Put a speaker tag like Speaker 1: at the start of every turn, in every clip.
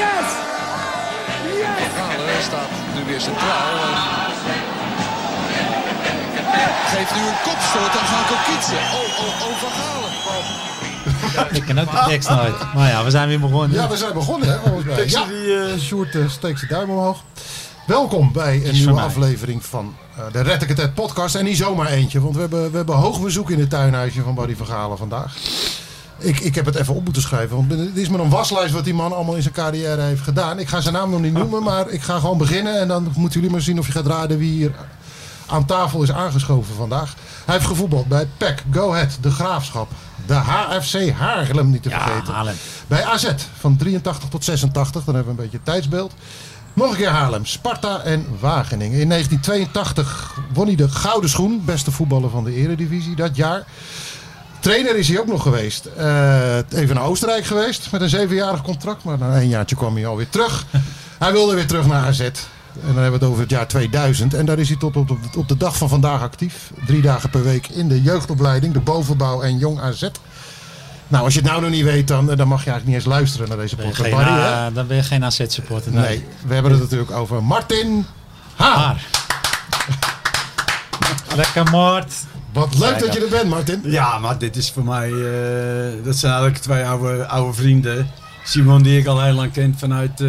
Speaker 1: Yes! Yes!
Speaker 2: Galen staat nu weer centraal. En geeft nu een kopstoot aan Van Kokitsen. Oh, oh, oh, Van Galen.
Speaker 3: Ik ken ook de tekst nooit. Maar ja, we zijn weer begonnen.
Speaker 4: Ja, we zijn begonnen, hè, volgens mij. Ja. Die, eh, Sjoerd eh, steekt zijn duim omhoog. Welkom bij een nieuwe
Speaker 3: mij.
Speaker 4: aflevering van eh, de Red ik het Uit podcast. En niet zomaar eentje, want we hebben, we hebben hoog bezoek in het tuinhuisje van Barry Vergalen vandaag. Ik, ik heb het even op moeten schrijven, want het is maar een waslijst wat die man allemaal in zijn carrière heeft gedaan. Ik ga zijn naam nog niet
Speaker 3: Ah.
Speaker 4: noemen, maar ik ga gewoon beginnen. En dan moeten jullie maar zien of je gaat raden wie hier aan tafel is aangeschoven vandaag. Hij heeft gevoetbald bij PEC, Go Ahead, De Graafschap, de HFC Haarlem niet te
Speaker 3: Ja,
Speaker 4: vergeten.
Speaker 3: Haarlem.
Speaker 4: Bij AZ van 83 tot 86, dan hebben we een beetje tijdsbeeld. Nog een keer Haarlem, Sparta en Wageningen. In 1982 won hij de Gouden Schoen, beste voetballer van de Eredivisie dat jaar. Trainer is hij ook nog geweest. Eh, even naar Oostenrijk geweest met een zevenjarig contract. Maar na een jaartje kwam hij alweer terug. hij wilde weer terug naar AZ. En dan hebben we het over het jaar 2000. En daar is hij tot op de, op de dag van vandaag actief. Drie dagen per week in de jeugdopleiding, de bovenbouw en jong AZ. Nou, als je het nou nog niet weet, dan, dan mag je eigenlijk niet eens luisteren naar deze
Speaker 3: Ben je
Speaker 4: podcast.
Speaker 3: geen,
Speaker 4: Barry, hè?
Speaker 3: eh, dan ben je geen AZ-supporter. Nee.
Speaker 4: Nee, we hebben het natuurlijk over Martin Haar.
Speaker 3: Maar. Lekker moord.
Speaker 4: Wat leuk dat je er bent, Martin.
Speaker 5: Ja, maar dit is voor mij, eh, dat zijn eigenlijk twee oude, oude vrienden. Simon die ik al heel lang ken vanuit eh,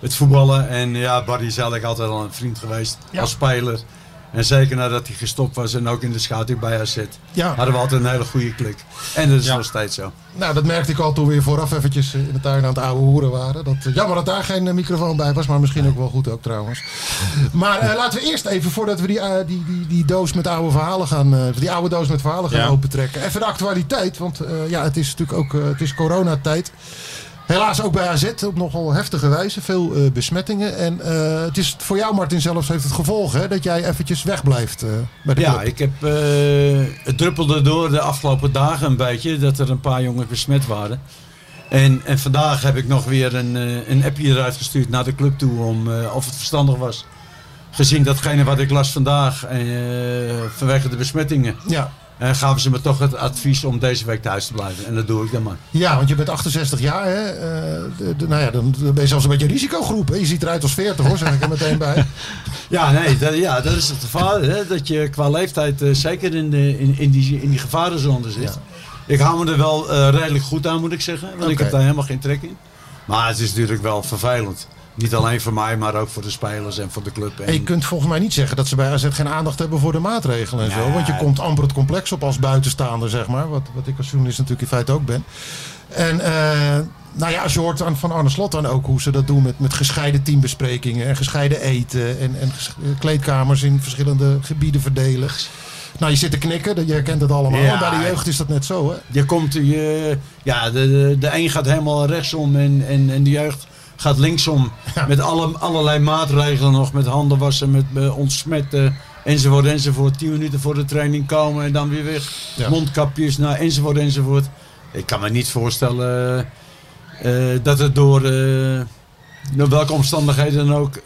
Speaker 5: het voetballen. En ja, Barry is eigenlijk altijd al een vriend geweest als speler. En zeker nadat hij gestopt was en ook in de schaduw bij haar zit.
Speaker 4: Ja.
Speaker 5: Hadden we altijd een hele goede klik. En dat is nog steeds zo.
Speaker 4: Nou, dat merkte ik al toen we hier vooraf eventjes eh, in de tuin aan het oude hoeren waren. Dat, eh, jammer dat daar geen eh, microfoon bij was, maar misschien ook wel goed ook trouwens. Maar eh, laten we eerst even, voordat we die, eh, die, die, die doos met oude verhalen gaan, eh, die oude doos met verhalen gaan
Speaker 3: Ja.
Speaker 4: opentrekken. Even de actualiteit, want eh, ja, het is natuurlijk ook, eh, het is coronatijd. Helaas ook bij AZ op nogal heftige wijze, veel eh, besmettingen. En eh, het is voor jou, Martin, zelfs heeft het gevolg hè, dat jij eventjes wegblijft eh bij de
Speaker 5: Ja,
Speaker 4: club.
Speaker 5: ik heb, eh, het druppelde door de afgelopen dagen een beetje dat er een paar jongens besmet waren. En, en vandaag heb ik nog weer een, eh, een appje eruit gestuurd naar de club toe om eh, of het verstandig was. Gezien datgene wat ik las vandaag eh, vanwege de besmettingen.
Speaker 4: Ja.
Speaker 5: En gaven ze me toch het advies om deze week thuis te blijven. En dat doe ik dan maar.
Speaker 4: Ja, want je bent 68 jaar, hè? Eh, de- de- nou ja, dan dan ben je zelfs een beetje een risicogroep. Hè? Je ziet eruit als 40 hoor, zeg ik er meteen bij.
Speaker 5: Ja, nee, dat, ja, dat is het gevaar. Hè? Dat je qua leeftijd eh, zeker in, de, in, in, die, in die gevarenzone zit. Ik hou me er wel eh, redelijk goed aan, moet ik zeggen. Want ik
Speaker 4: Oké.
Speaker 5: heb daar helemaal geen trek in. Maar het is natuurlijk wel vervelend. Niet alleen voor mij, maar ook voor de spelers en voor de club.
Speaker 4: En
Speaker 5: En,
Speaker 4: je kunt volgens mij niet zeggen dat ze bij AZ geen aandacht hebben voor de maatregelen en zo.
Speaker 5: Nee.
Speaker 4: Want je komt amper het complex op als buitenstaander, zeg maar. Wat, wat ik als journalist natuurlijk in feite ook ben. En eh, nou ja, als je hoort aan, van Arne Slot dan ook hoe ze dat doen met, met gescheiden teambesprekingen en gescheiden eten. En, en ges- eh, kleedkamers in verschillende gebieden verdelen. Nou, je zit te knikken, dat- je herkent het allemaal.
Speaker 5: Ja.
Speaker 4: Bij de jeugd is dat net zo, hè?
Speaker 5: je komt, je, ja, de, de, de een gaat helemaal rechtsom en, en, en de jeugd gaat linksom. Met alle, allerlei maatregelen nog. Met handen wassen, met eh, ontsmetten. Enzovoort, enzovoort. Tien minuten voor de training komen en dan weer weg.
Speaker 4: Ja.
Speaker 5: Mondkapjes, nou, enzovoort, enzovoort. Ik kan me niet voorstellen eh, eh, dat het door, eh, door welke omstandigheden dan ook...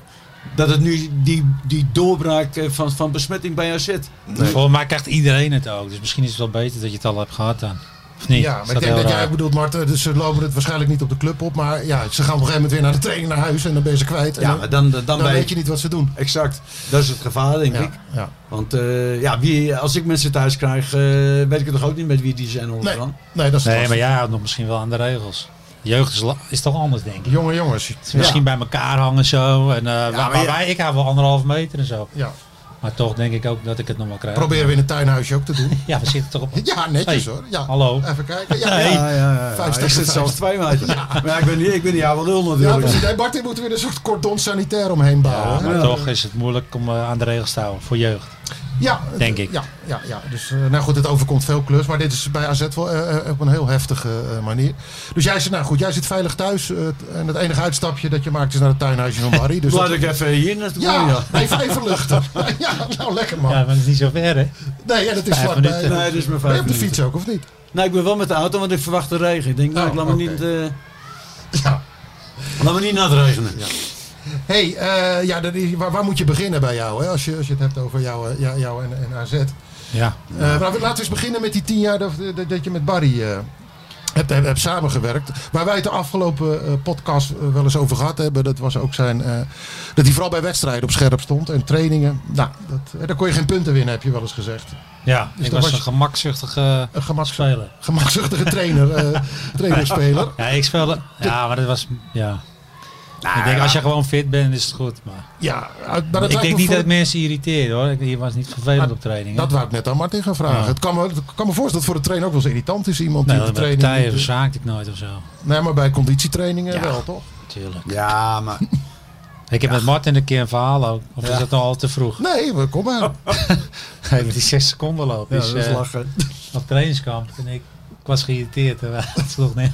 Speaker 5: Dat het nu die, die doorbraak eh, van, van besmetting bij jou zit.
Speaker 3: Volgens mij krijgt iedereen het ook. Dus misschien is het wel beter dat je het al hebt gehad dan. Of niet?
Speaker 4: Ja,
Speaker 3: Is
Speaker 4: maar ik denk
Speaker 3: heel
Speaker 4: dat
Speaker 3: raar?
Speaker 4: jij bedoelt, Marten, dus ze lopen het waarschijnlijk niet op de club op. Maar ja, ze gaan op een gegeven moment weer naar de training naar huis en dan ben je ze kwijt. En
Speaker 5: Ja,
Speaker 4: dan,
Speaker 5: maar dan, dan,
Speaker 4: dan
Speaker 5: ben
Speaker 4: weet
Speaker 5: je...
Speaker 4: je niet wat ze doen.
Speaker 5: Exact. Dat is het gevaar, denk
Speaker 4: Ja,
Speaker 5: ik.
Speaker 4: ja.
Speaker 5: Want eh, ja, wie, als ik mensen thuis krijg, eh, weet ik het toch ook niet met wie die zijn
Speaker 4: Nee,
Speaker 5: onderaan.
Speaker 4: nee, dat is
Speaker 3: Nee,
Speaker 4: nee,
Speaker 3: maar jij houdt nog misschien wel aan de regels. De jeugd is, la- is toch anders, denk ik.
Speaker 4: Jonge jongens.
Speaker 3: Ze Misschien bij elkaar hangen zo. En, eh, waar, waar wij, ik hou wel anderhalve meter en zo.
Speaker 4: Ja.
Speaker 3: Maar toch denk ik ook dat ik het nog wel krijg.
Speaker 4: Proberen we in het tuinhuisje ook te doen.
Speaker 3: Ja, we zitten toch op.
Speaker 4: Ja, netjes
Speaker 3: Hey,
Speaker 4: hoor. Ja.
Speaker 3: hallo.
Speaker 4: Even kijken. Ja,
Speaker 3: Nee.
Speaker 4: ja.
Speaker 5: Ah, Ja, ja, ja.
Speaker 4: Vijf
Speaker 5: ik
Speaker 4: tegen
Speaker 5: zit
Speaker 4: vijf.
Speaker 5: zelfs twee maatjes. Maar ja, ik ben niet, ik ben niet oude lul
Speaker 4: Ja,
Speaker 5: natuurlijk.
Speaker 4: precies. Hey, Bart, die moeten weer een soort cordon sanitair omheen
Speaker 3: Ja,
Speaker 4: bouwen. hè?
Speaker 3: maar toch is het moeilijk om eh, aan de regels te houden voor jeugd.
Speaker 4: Ja,
Speaker 3: Denk
Speaker 4: het-
Speaker 3: ik.
Speaker 4: Ja, ja, ja. Dus, eh, nou goed, het overkomt veel klus. Maar dit is bij AZ wel eh, eh, op een heel heftige eh, manier. Dus jij zit, nou goed, jij zit veilig thuis. eh, en het enige uitstapje dat je maakt is naar het tuinhuisje van Barry. Dus
Speaker 5: Laat
Speaker 4: dat-
Speaker 5: ik even hier naartoe.
Speaker 4: ja,
Speaker 5: ja.
Speaker 4: Even, even luchten. ja, nou lekker man.
Speaker 3: Ja, maar dat is niet zo ver, hè?
Speaker 4: nee, ja, dat is
Speaker 3: vijf
Speaker 4: vlakbij.
Speaker 3: minuten.
Speaker 5: Nee, dat is maar
Speaker 4: Ben je
Speaker 5: vijf
Speaker 4: op de
Speaker 5: minuten.
Speaker 4: fiets ook, of niet?
Speaker 5: Nee, ik ben wel met de auto, want ik verwacht de regen. Ik denk, nou,
Speaker 4: Oh,
Speaker 5: ik laat me
Speaker 4: oké.
Speaker 5: niet... eh,
Speaker 4: Ja.
Speaker 5: Laat me niet nadregenen.
Speaker 4: hey, eh, ja, dat is- waar, waar moet je beginnen bij jou? Hè? Als, je, als je het hebt over jou, eh, jou, jou en, en AZ.
Speaker 3: Ja.
Speaker 4: Eh, maar laten we eens beginnen met die tien jaar dat, dat, dat je met Barry eh, hebt, hebt, hebt samengewerkt. Waar wij het de afgelopen eh, podcast eh, wel eens over gehad hebben. Dat was ook zijn. eh, dat hij vooral bij wedstrijden op scherp stond en trainingen. Nou, dat, eh, daar kon je geen punten winnen, heb je wel eens gezegd.
Speaker 3: Ja,
Speaker 4: Dus
Speaker 3: ik
Speaker 4: dan
Speaker 3: was
Speaker 4: was
Speaker 3: een
Speaker 4: je-
Speaker 3: gemakzuchtige
Speaker 4: Een gemaks,
Speaker 3: speler.
Speaker 4: gemakzuchtige trainer, eh trainerspeler.
Speaker 3: Ja, ik speelde... Ja, maar dat was... Ja. ik denk, als je gewoon fit bent, is het goed. Maar
Speaker 4: Ja, uit- maar dat
Speaker 3: ik
Speaker 4: lijkt
Speaker 3: denk niet
Speaker 4: me voor-
Speaker 3: dat het mensen irriteert, hoor. Ik, je was niet vervelend op trainingen.
Speaker 4: Dat wou ik net aan Martin gaan vragen.
Speaker 3: Ja.
Speaker 4: Het kan me, het kan me voorstellen dat het voor de trainer ook wel eens irritant is. Iemand
Speaker 3: nee,
Speaker 4: die de
Speaker 3: want bij
Speaker 4: training...
Speaker 3: partijen
Speaker 4: niet-
Speaker 3: verzaakte ik nooit of zo.
Speaker 4: Nee, maar bij conditietrainingen
Speaker 3: Ja.
Speaker 4: wel, toch?
Speaker 3: Natuurlijk.
Speaker 5: Ja, maar...
Speaker 3: Ik heb met Martin een keer een verhaal ook. Of is
Speaker 5: Ja.
Speaker 3: dat nou al te vroeg?
Speaker 4: Nee, we kom
Speaker 3: Oh.
Speaker 4: maar.
Speaker 3: Nee, met die zes seconden loop.
Speaker 5: Ja,
Speaker 3: Dus,
Speaker 5: dat is
Speaker 3: eh,
Speaker 5: lachen.
Speaker 3: op trainingskamp en ik, ik was geïrriteerd. terwijl Het sloeg neer.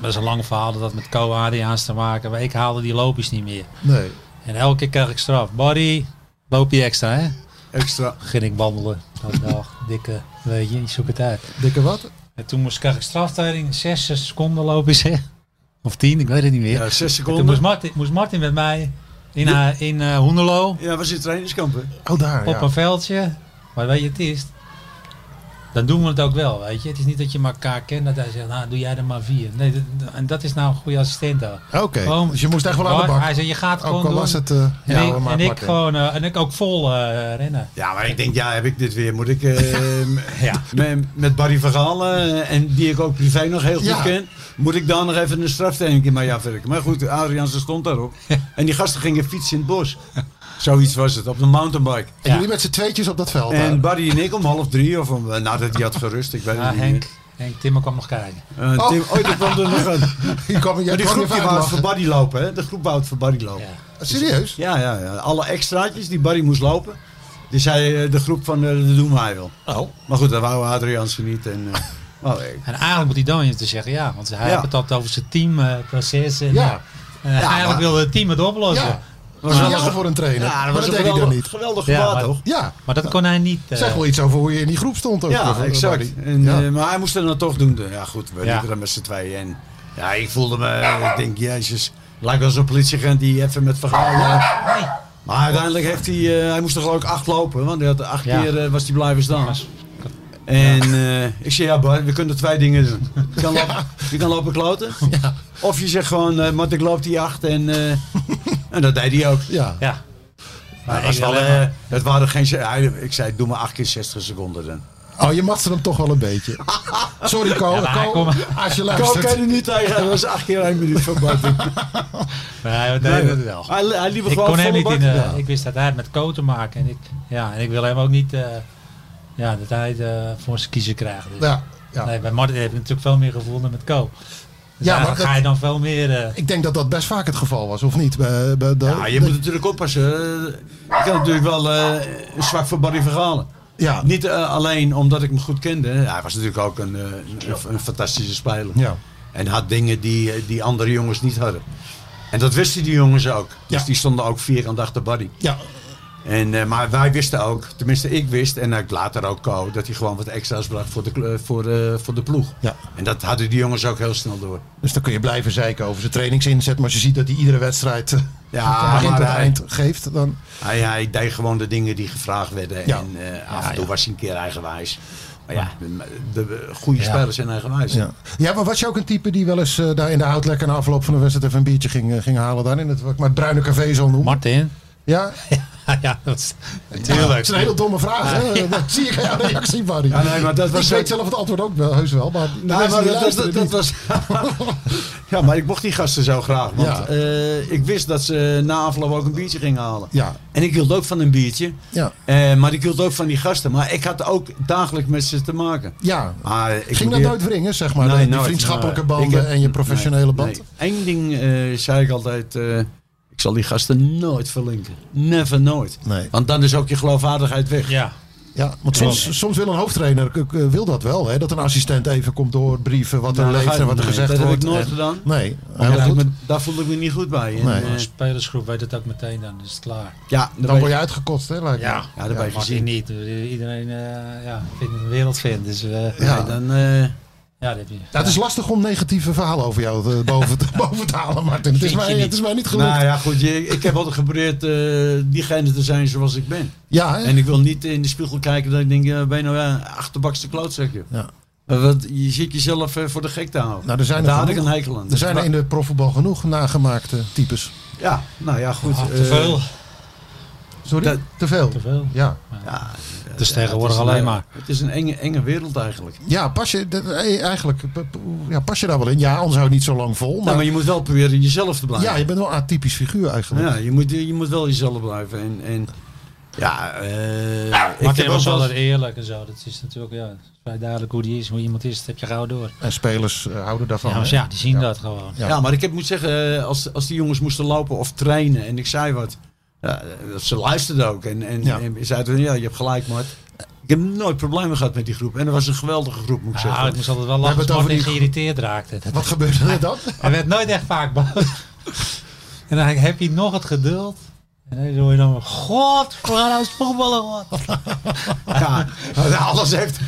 Speaker 3: Dat is een lang verhaal dat had met koude Adriaans te maken. Maar ik haalde die loopjes niet meer.
Speaker 4: Nee.
Speaker 3: En elke keer kreeg ik straf. Barry, loop je extra hè?
Speaker 5: Extra.
Speaker 3: Ging ik wandelen. Dat dag, dikke, weet je, ik zoek het uit.
Speaker 4: Dikke wat?
Speaker 3: En toen moest, kreeg ik straftijding, zes, zes seconden loopjes hè? Of tien, ik weet het niet meer.
Speaker 5: Ja, zes
Speaker 3: En toen moest
Speaker 5: seconden.
Speaker 3: Martin, moest Martin met mij in, haar- in eh, Hoenderloo.
Speaker 5: Ja, was in trainingskampen.
Speaker 4: Oh, daar,
Speaker 3: op
Speaker 4: ja.
Speaker 3: een veldje. Maar weet je, het is. Dan doen we het ook wel, weet je. Het is niet dat je elkaar kent dat hij zegt, nou doe jij er maar vier. Nee, dat- en dat is nou een goede assistent ook.
Speaker 4: Oké,
Speaker 3: Gewoon-
Speaker 4: dus je moest echt wel aan de
Speaker 3: Bart,
Speaker 4: bak.
Speaker 3: Hij zei, je gaat het
Speaker 4: Ook
Speaker 3: gewoon
Speaker 4: al
Speaker 3: doen.
Speaker 4: was het... eh
Speaker 3: en
Speaker 4: ja,
Speaker 3: ik,
Speaker 4: maar
Speaker 3: en ik
Speaker 4: Martin.
Speaker 3: gewoon, eh, en ik ook vol eh, rennen.
Speaker 5: Ja, maar ik denk, ja, heb ik dit weer? Moet ik eh, m- met, met Barry Vergaal, en die ik ook privé nog heel goed
Speaker 4: Ja.
Speaker 5: ken, moet ik daar nog even een straftraining in mij afwerken? Maar goed, Adriaanse stond daarop. en die gasten gingen fietsen in het bos. Zoiets was het, op de mountainbike.
Speaker 4: En
Speaker 3: Ja.
Speaker 4: jullie met z'n tweetjes op dat veld.
Speaker 5: En
Speaker 4: daar.
Speaker 5: Barry en ik om half drie, of om, eh, nadat hij had gerust, ik weet het
Speaker 3: Ah,
Speaker 5: niet
Speaker 3: Henk, Henk Timmer kwam nog kijken.
Speaker 5: meer. Eh, Tim, oh, die kwam er nog aan.
Speaker 4: Hier kwam, jij
Speaker 5: Maar die
Speaker 4: kwam
Speaker 5: groep
Speaker 4: je vaak
Speaker 5: die wou
Speaker 4: lachen.
Speaker 5: voor Barry lopen, hè? De groep wou het voor Barry lopen.
Speaker 3: Ja.
Speaker 4: Serieus?
Speaker 5: Ja, ja, ja. Alle extraatjes die Barry moest lopen, die zei eh, de groep van eh, dat doen wij wel.
Speaker 4: Oh.
Speaker 5: Maar goed, dat wou Adriaanse niet. En, eh, oh, ik-
Speaker 3: En eigenlijk moet hij dan even te zeggen, ja. Want hij
Speaker 5: Ja.
Speaker 3: had het altijd over zijn teamproces. en
Speaker 4: Ja.
Speaker 3: eh, eigenlijk
Speaker 5: maar-
Speaker 3: wilde het team het oplossen.
Speaker 4: Ja.
Speaker 5: was
Speaker 4: Ja,
Speaker 5: wel een-
Speaker 4: voor een trainer.
Speaker 5: Ja, dat
Speaker 4: maar
Speaker 5: was
Speaker 4: dat
Speaker 5: een
Speaker 4: deed hij
Speaker 5: geweldig,
Speaker 4: dan niet.
Speaker 5: geweldig
Speaker 3: Ja,
Speaker 5: gebaar,
Speaker 3: maar-
Speaker 5: toch?
Speaker 4: Ja,
Speaker 3: Maar dat kon hij niet. eh,
Speaker 4: zeg wel iets over hoe je in die groep stond. Ook
Speaker 5: Ja,
Speaker 4: eh,
Speaker 5: exact.
Speaker 4: Barry.
Speaker 5: En,
Speaker 4: ja.
Speaker 5: eh, maar hij moest het dan toch doen. Ja, goed, we
Speaker 3: Ja.
Speaker 5: liepen dan met z'n tweeën. En, ja, ik voelde me, ik denk, jezus, lijkt wel zo'n politieagent die even met verhaal... eh,
Speaker 3: Nee.
Speaker 5: Maar uiteindelijk heeft hij, eh, hij moest er geloof ik acht lopen, want hij had acht
Speaker 3: Ja.
Speaker 5: keer eh, was hij blijven staan. En eh, ik zei, ja Bart, we kunnen twee dingen doen. Je kan lopen, je kan lopen kloten, of je zegt gewoon, eh Mart, ik loop die acht en, eh, en dat deed hij ook.
Speaker 4: ja.
Speaker 3: Ja.
Speaker 5: Maar het,
Speaker 3: ik
Speaker 5: was wel,
Speaker 3: wil
Speaker 5: eh,
Speaker 3: helemaal-
Speaker 5: het waren geen... ze- hij- Ik zei, doe maar acht keer 60 seconden dan.
Speaker 4: Oh, je matste hem toch wel een beetje. Sorry, Ko.
Speaker 3: Ja, maar
Speaker 4: Ko,
Speaker 3: kom.
Speaker 4: als je
Speaker 5: Ko
Speaker 4: luistert.
Speaker 5: kan er niet tegen. Dat was acht keer één minuut van buiten.
Speaker 3: Nee, we deden het wel.
Speaker 5: Hij, hij liep er
Speaker 3: Ik
Speaker 5: gewoon
Speaker 3: kon hem
Speaker 5: volle
Speaker 3: niet in.
Speaker 5: bak.
Speaker 3: eh, Ik wist dat hij het met Co te maken. En ik, ja, en ik wil hem ook niet eh, ja, dat hij het eh, voor zijn kiezen krijgt. Dus.
Speaker 4: Ja, ja.
Speaker 3: Nee, bij Martin heb ik natuurlijk veel meer gevoel dan met Co. Dus
Speaker 4: Ja,
Speaker 3: ja,
Speaker 4: maar dat-
Speaker 3: ga je dan veel meer. eh,
Speaker 4: Ik denk dat dat best vaak het geval was, of niet? Bij- bij de-
Speaker 5: Ja, je moet natuurlijk oppassen. Ik had natuurlijk wel eh, een zwak voor Barry Verhalen.
Speaker 4: ja.
Speaker 5: Niet eh, alleen omdat ik hem goed kende. Hij was natuurlijk ook een, eh, een, een fantastische speler.
Speaker 4: Ja.
Speaker 5: En had dingen die, eh, die andere jongens niet hadden. En dat wisten die jongens ook. Dus
Speaker 4: Ja.
Speaker 5: die stonden ook vierkant achter Barry.
Speaker 4: Ja.
Speaker 5: En, eh, maar wij wisten ook, tenminste ik wist en ik later ook Co, dat hij gewoon wat extra's bracht voor de, kle- eh, voor, eh, voor de ploeg.
Speaker 4: Ja.
Speaker 5: En dat hadden die jongens ook heel snel door.
Speaker 4: Dus dan kun je blijven zeiken over zijn trainingsinzet. Maar als je ziet dat hij iedere wedstrijd eh, van
Speaker 5: Ja,
Speaker 4: begin
Speaker 5: maar
Speaker 4: tot
Speaker 5: hij,
Speaker 4: eind geeft, dan...
Speaker 5: hij, hij deed gewoon de dingen die gevraagd werden.
Speaker 4: Ja.
Speaker 5: En eh, af en toe was hij een keer eigenwijs. Maar ja, de, de goede spelers zijn eigenwijs.
Speaker 4: Ja. ja, maar was je ook een type die wel eens eh, daar in de houtlekker na afloop van de wedstrijd even een biertje ging, eh, ging halen daar in het, wat ik maar het bruine café zal noemen?
Speaker 3: Martin?
Speaker 4: ja?
Speaker 3: ja, dat is
Speaker 4: Ja, dat
Speaker 3: natuurlijk.
Speaker 4: is een hele domme vraag, hè? Dat zie ik aan jouw reactie, Barry.
Speaker 5: Ja, nee, maar dat was
Speaker 4: ik weet
Speaker 5: ook-
Speaker 4: zelf het antwoord ook wel, heus wel, maar de
Speaker 5: Nou,
Speaker 4: mensen
Speaker 5: maar
Speaker 4: die
Speaker 5: dat, dat,
Speaker 4: luisteren
Speaker 5: dat
Speaker 4: niet.
Speaker 5: was. ja, maar ik mocht die gasten zo graag. Want
Speaker 4: Ja.
Speaker 5: eh, ik wist dat ze na afloop ook een biertje gingen halen.
Speaker 4: Ja.
Speaker 5: En ik hield ook van een biertje.
Speaker 4: Ja.
Speaker 5: Eh, maar ik hield ook van die gasten. Maar ik had ook dagelijks met ze te maken.
Speaker 4: Ja,
Speaker 5: Maar Ah, ik
Speaker 4: ging dat
Speaker 5: probeer-
Speaker 4: nooit wringen, zeg maar?
Speaker 5: Nee,
Speaker 4: de- die
Speaker 5: nooit.
Speaker 4: vriendschappelijke
Speaker 5: Nee.
Speaker 4: banden
Speaker 5: Ik heb-
Speaker 4: en je professionele
Speaker 5: nee,
Speaker 4: band?
Speaker 5: nee. Eén ding eh, zei ik altijd. eh, ik zal die gasten nooit verlinken. Never nooit.
Speaker 4: Nee.
Speaker 5: Want dan is ook je geloofwaardigheid weg.
Speaker 3: Ja.
Speaker 4: Ja, want soms, soms wil een hoofdtrainer ik, eh, wil dat wel. Hè? Dat een assistent even komt doorbrieven wat er
Speaker 5: Nou, dat
Speaker 4: leeft
Speaker 5: ga-
Speaker 4: en wat er
Speaker 5: nee,
Speaker 4: gezegd
Speaker 5: dat heb
Speaker 4: wordt.
Speaker 5: ik nooit
Speaker 4: En-
Speaker 5: gedaan.
Speaker 4: Nee,
Speaker 5: Ja,
Speaker 4: heel
Speaker 5: daar,
Speaker 4: goed.
Speaker 5: me- daar voelde ik me niet goed bij. En,
Speaker 4: Nee.
Speaker 5: eh,
Speaker 3: De spelersgroep weet het ook meteen dan. Dus het klaar.
Speaker 5: ja, daar
Speaker 4: Dan
Speaker 5: ben
Speaker 4: word
Speaker 5: je-
Speaker 4: je uitgekotst, hè? Lijkt me.
Speaker 3: Ja,
Speaker 5: Ja, dat Ah, ben je
Speaker 3: mag
Speaker 5: gezien.
Speaker 3: je niet. Iedereen eh, ja, vindt het een wereldfan. Dus eh,
Speaker 4: Ja. Dus,
Speaker 5: nee, dan, eh,
Speaker 3: ja, dat heb je.
Speaker 4: Ja, het is lastig om negatieve verhalen over jou te- boven, te, boven te halen, Martin. Het is,
Speaker 3: Vind je
Speaker 4: mij,
Speaker 3: niet.
Speaker 4: het is mij niet gelukt.
Speaker 5: nou ja, goed. je- ik heb altijd geprobeerd eh, diegene te zijn zoals ik ben.
Speaker 4: ja, hè?
Speaker 5: En ik wil niet in de spiegel kijken dat ik denk, eh, ben je nou ja, achterbakste klootzak, joh.
Speaker 4: Ja.
Speaker 5: Eh, Want je zit jezelf eh, voor de gek te houden.
Speaker 4: Nou, er zijn er
Speaker 5: Daar had ik
Speaker 4: genoeg.
Speaker 5: een hekel aan.
Speaker 4: er zijn er in de profvoetbal genoeg nagemaakte types.
Speaker 5: Ja, nou ja, goed.
Speaker 3: Ah,
Speaker 5: eh,
Speaker 3: te veel.
Speaker 4: Sorry?
Speaker 5: Dat-
Speaker 4: te veel.
Speaker 3: Te veel.
Speaker 4: Ja.
Speaker 5: Ja,
Speaker 3: Het is
Speaker 5: het
Speaker 3: dus tegenwoordig
Speaker 5: is eh, een-
Speaker 3: alleen maar.
Speaker 5: Het is een enge, enge wereld eigenlijk.
Speaker 4: ja, pas je dat- eh, eigenlijk p- p- ja, pas je daar wel in. Ja, anders hou je niet zo lang vol. Maar,
Speaker 5: Nou, maar je moet wel proberen jezelf te blijven.
Speaker 4: ja, je bent wel een atypisch figuur eigenlijk.
Speaker 5: Ja, je moet, je moet wel jezelf blijven. En, en ja, eh ik
Speaker 3: Martin
Speaker 5: heb ook
Speaker 3: was
Speaker 5: wel
Speaker 3: altijd eerlijk en zo. Dat is natuurlijk ja, het is vrij duidelijk hoe die is, hoe iemand is. Dat heb je gauw door.
Speaker 4: En spelers eh, houden daarvan.
Speaker 3: Ja, maar
Speaker 4: hè?
Speaker 3: ja, die zien dat gewoon.
Speaker 4: Ja.
Speaker 5: Ja, maar ik heb, moet zeggen, eh, als, als die jongens moesten lopen of trainen en ik zei wat, ja, eh, ze luisterden ook. En, en,
Speaker 4: Ja.
Speaker 5: en zeiden van, ja, je hebt gelijk, maar ik heb nooit problemen gehad met die groep. En dat was een geweldige groep, moet ik
Speaker 3: Ja, ik
Speaker 5: zeggen.
Speaker 3: moest altijd wel lachen
Speaker 4: hebben
Speaker 3: als
Speaker 4: het over
Speaker 3: Martin
Speaker 4: die-
Speaker 3: geïrriteerd raakte. Dat-
Speaker 4: Wat gebeurde er dan?
Speaker 3: Hij werd nooit echt vaak boos. En dan heb je nog het geduld. En dan hoor je dan, god, we gaan nou eens voetballen. hoor."
Speaker 5: Ja, alles, heeft,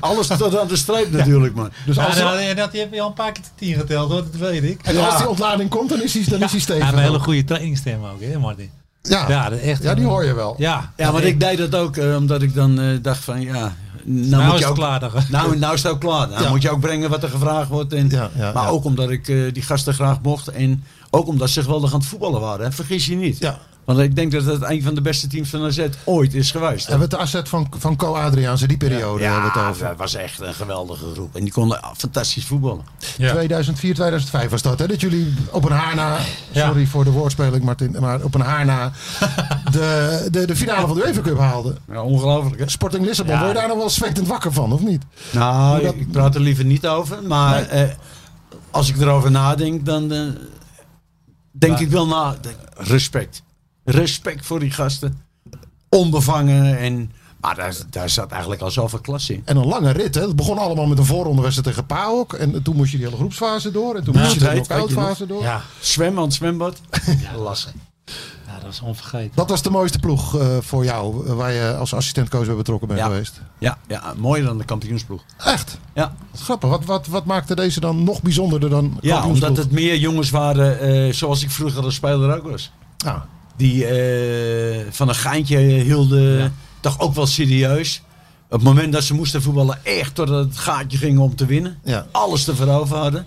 Speaker 5: alles tot aan de streep natuurlijk, man.
Speaker 4: Dus
Speaker 3: Ja,
Speaker 4: als,
Speaker 3: dat, en dat heb je al een paar keer tot tien geteld hoor, dat weet ik.
Speaker 4: en als die ontlading komt, dan is hij, dan is hij
Speaker 3: Hij
Speaker 4: stevig.
Speaker 3: heeft een hele goede trainingstem ook, hè Martin?
Speaker 4: ja.
Speaker 3: Ja,
Speaker 4: Ah. Ja,
Speaker 3: dat echt.
Speaker 4: die hoor je wel.
Speaker 3: Ja,
Speaker 5: Ja, maar ik deed dat ook eh, omdat ik dan eh, dacht van, ja, nou,
Speaker 3: Nou,
Speaker 5: moet
Speaker 3: is
Speaker 5: je
Speaker 3: het
Speaker 5: ook...
Speaker 3: klaar. dan.
Speaker 5: Nou, nou is het ook klaar. Nou
Speaker 4: Ja.
Speaker 5: moet je ook brengen wat er gevraagd wordt. En,
Speaker 4: Ja, ja,
Speaker 5: maar
Speaker 4: ja.
Speaker 5: ook omdat ik eh, die gasten graag mocht. En ook omdat ze geweldig aan het voetballen waren. Hè. Vergis je niet.
Speaker 4: Ja.
Speaker 5: Want ik denk dat het een van de beste teams van AZ ooit is geweest.
Speaker 4: Hebben we het asset van, van Co Adriaanse, die periode hebben we het over.
Speaker 5: dat was echt een geweldige groep. En die konden fantastisch voetballen.
Speaker 3: Ja.
Speaker 4: 2004, 2005 was dat, hè? Dat jullie op een haar na,
Speaker 3: Ja.
Speaker 4: sorry voor de woordspeling Martin, maar op een haar na de, de, de finale van de UEFA Cup haalden.
Speaker 5: Ja, ongelooflijk hè?
Speaker 4: Sporting Lissabon,
Speaker 3: Ja.
Speaker 4: word je daar nog wel zwetend wakker van, of niet?
Speaker 5: Nou,
Speaker 4: dat-
Speaker 5: ik praat er liever niet over. Maar eh, als ik erover nadenk, dan eh, denk ik wel na. Respect. Respect voor die gasten. Onbevangen. En, maar daar, daar zat eigenlijk al zoveel klas in.
Speaker 4: En een lange rit, hè? Het begon allemaal met een voorronderwedstrijd tegen PAOK. En toen moest je die hele groepsfase door. En toen
Speaker 5: Ja,
Speaker 4: moest je de
Speaker 5: het heet, weet je
Speaker 4: knock-outfase door.
Speaker 3: Ja,
Speaker 5: Zwemmen aan het zwembad. Lassen.
Speaker 3: ja, dat is onvergeten.
Speaker 4: Dat was de mooiste ploeg eh, voor jou, eh, waar je als assistentcoach bij betrokken bent
Speaker 5: Ja.
Speaker 4: geweest.
Speaker 5: Ja, ja, mooier dan de kampioensploeg.
Speaker 4: Echt?
Speaker 5: Ja,
Speaker 4: Wat grappig. Wat, wat, wat maakte deze dan nog bijzonderder dan
Speaker 5: ja
Speaker 4: kampioensploeg?
Speaker 5: omdat het meer jongens waren eh, zoals ik vroeger als speler ook was.
Speaker 4: Ja.
Speaker 5: die eh, van een geintje hielden. Toch ook wel serieus. Op het moment dat ze moesten voetballen, echt tot het gaatje gingen om te winnen.
Speaker 4: Ja.
Speaker 5: Alles te veroveren hadden.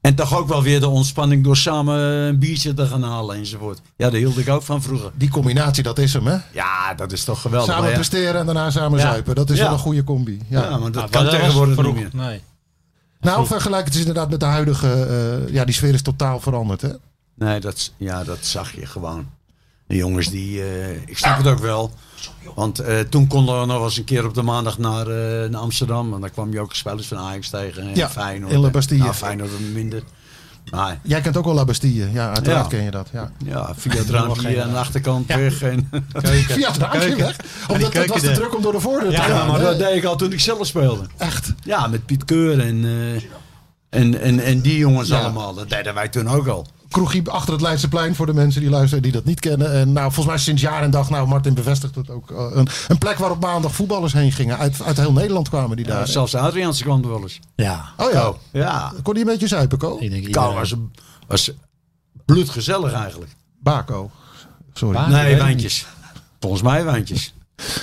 Speaker 5: En toch ook wel weer de ontspanning door samen een biertje te gaan halen enzovoort. Ja, daar hield ik ook van vroeger.
Speaker 4: Die combinatie, dat is hem, hè?
Speaker 5: Ja, dat is toch geweldig.
Speaker 4: Samen
Speaker 5: hè?
Speaker 4: presteren en daarna samen
Speaker 3: Ja.
Speaker 4: zuipen. Dat is
Speaker 5: Ja.
Speaker 4: wel een goede combi. Ja.
Speaker 5: ja, maar dat
Speaker 3: Ja,
Speaker 5: kan
Speaker 3: maar Ah, was
Speaker 5: tegenwoordig niet
Speaker 3: vroeg.
Speaker 5: meer.
Speaker 3: Nee.
Speaker 4: nou, vergelijk het is inderdaad met de huidige... eh, ja, die sfeer is totaal veranderd, hè?
Speaker 5: Nee, dat, s- ja, dat zag je gewoon. De jongens die, eh, ik snap het ook wel. Want eh, toen konden we nog eens een keer op de maandag naar, eh, naar Amsterdam. En daar kwam je ook spelers van Ajax tegen. En
Speaker 4: Ja,
Speaker 5: Feyenoord.
Speaker 4: in La
Speaker 5: En-
Speaker 4: Bastille.
Speaker 5: Nou, Feyenoord minder. Maar
Speaker 4: Jij kent ook wel La Bastille. Ja, uiteraard
Speaker 5: Ja.
Speaker 4: ken je dat. Ja.
Speaker 5: ja, via het raampje aan de achterkant weg. En,
Speaker 3: Keuken.
Speaker 4: Via het raampje
Speaker 3: Keuken.
Speaker 4: weg.
Speaker 3: die
Speaker 4: Omdat dat
Speaker 3: keuken
Speaker 4: was te
Speaker 3: er.
Speaker 4: druk om door de voordeur te
Speaker 3: Ja,
Speaker 4: gaan.
Speaker 5: ja, maar
Speaker 4: hè?
Speaker 5: dat deed ik al toen ik zelf speelde.
Speaker 4: Echt.
Speaker 5: Ja, met Piet Keur en, eh, en, en, en die jongens
Speaker 4: Ja.
Speaker 5: allemaal. Dat deden wij toen ook al.
Speaker 4: Kroegie achter het Leidseplein voor de mensen die luisteren die dat niet kennen. En nou, volgens mij sinds jaar en dag, nou Martin bevestigt het ook. eh, een, een plek waar op maandag voetballers heen gingen. Uit, uit heel Nederland kwamen die daar.
Speaker 5: Zelfs Adriaanse kwam er wel eens.
Speaker 3: Ja,
Speaker 4: oh ja.
Speaker 5: Ja,
Speaker 4: Kon die een beetje zuipen, Ko?
Speaker 3: ik denk
Speaker 5: Kou
Speaker 3: iedereen.
Speaker 5: was, was bloedgezellig eigenlijk.
Speaker 4: Bako. Sorry.
Speaker 3: Ba-
Speaker 5: Nee,
Speaker 3: weet ik
Speaker 5: wijntjes. Volgens mij wijntjes.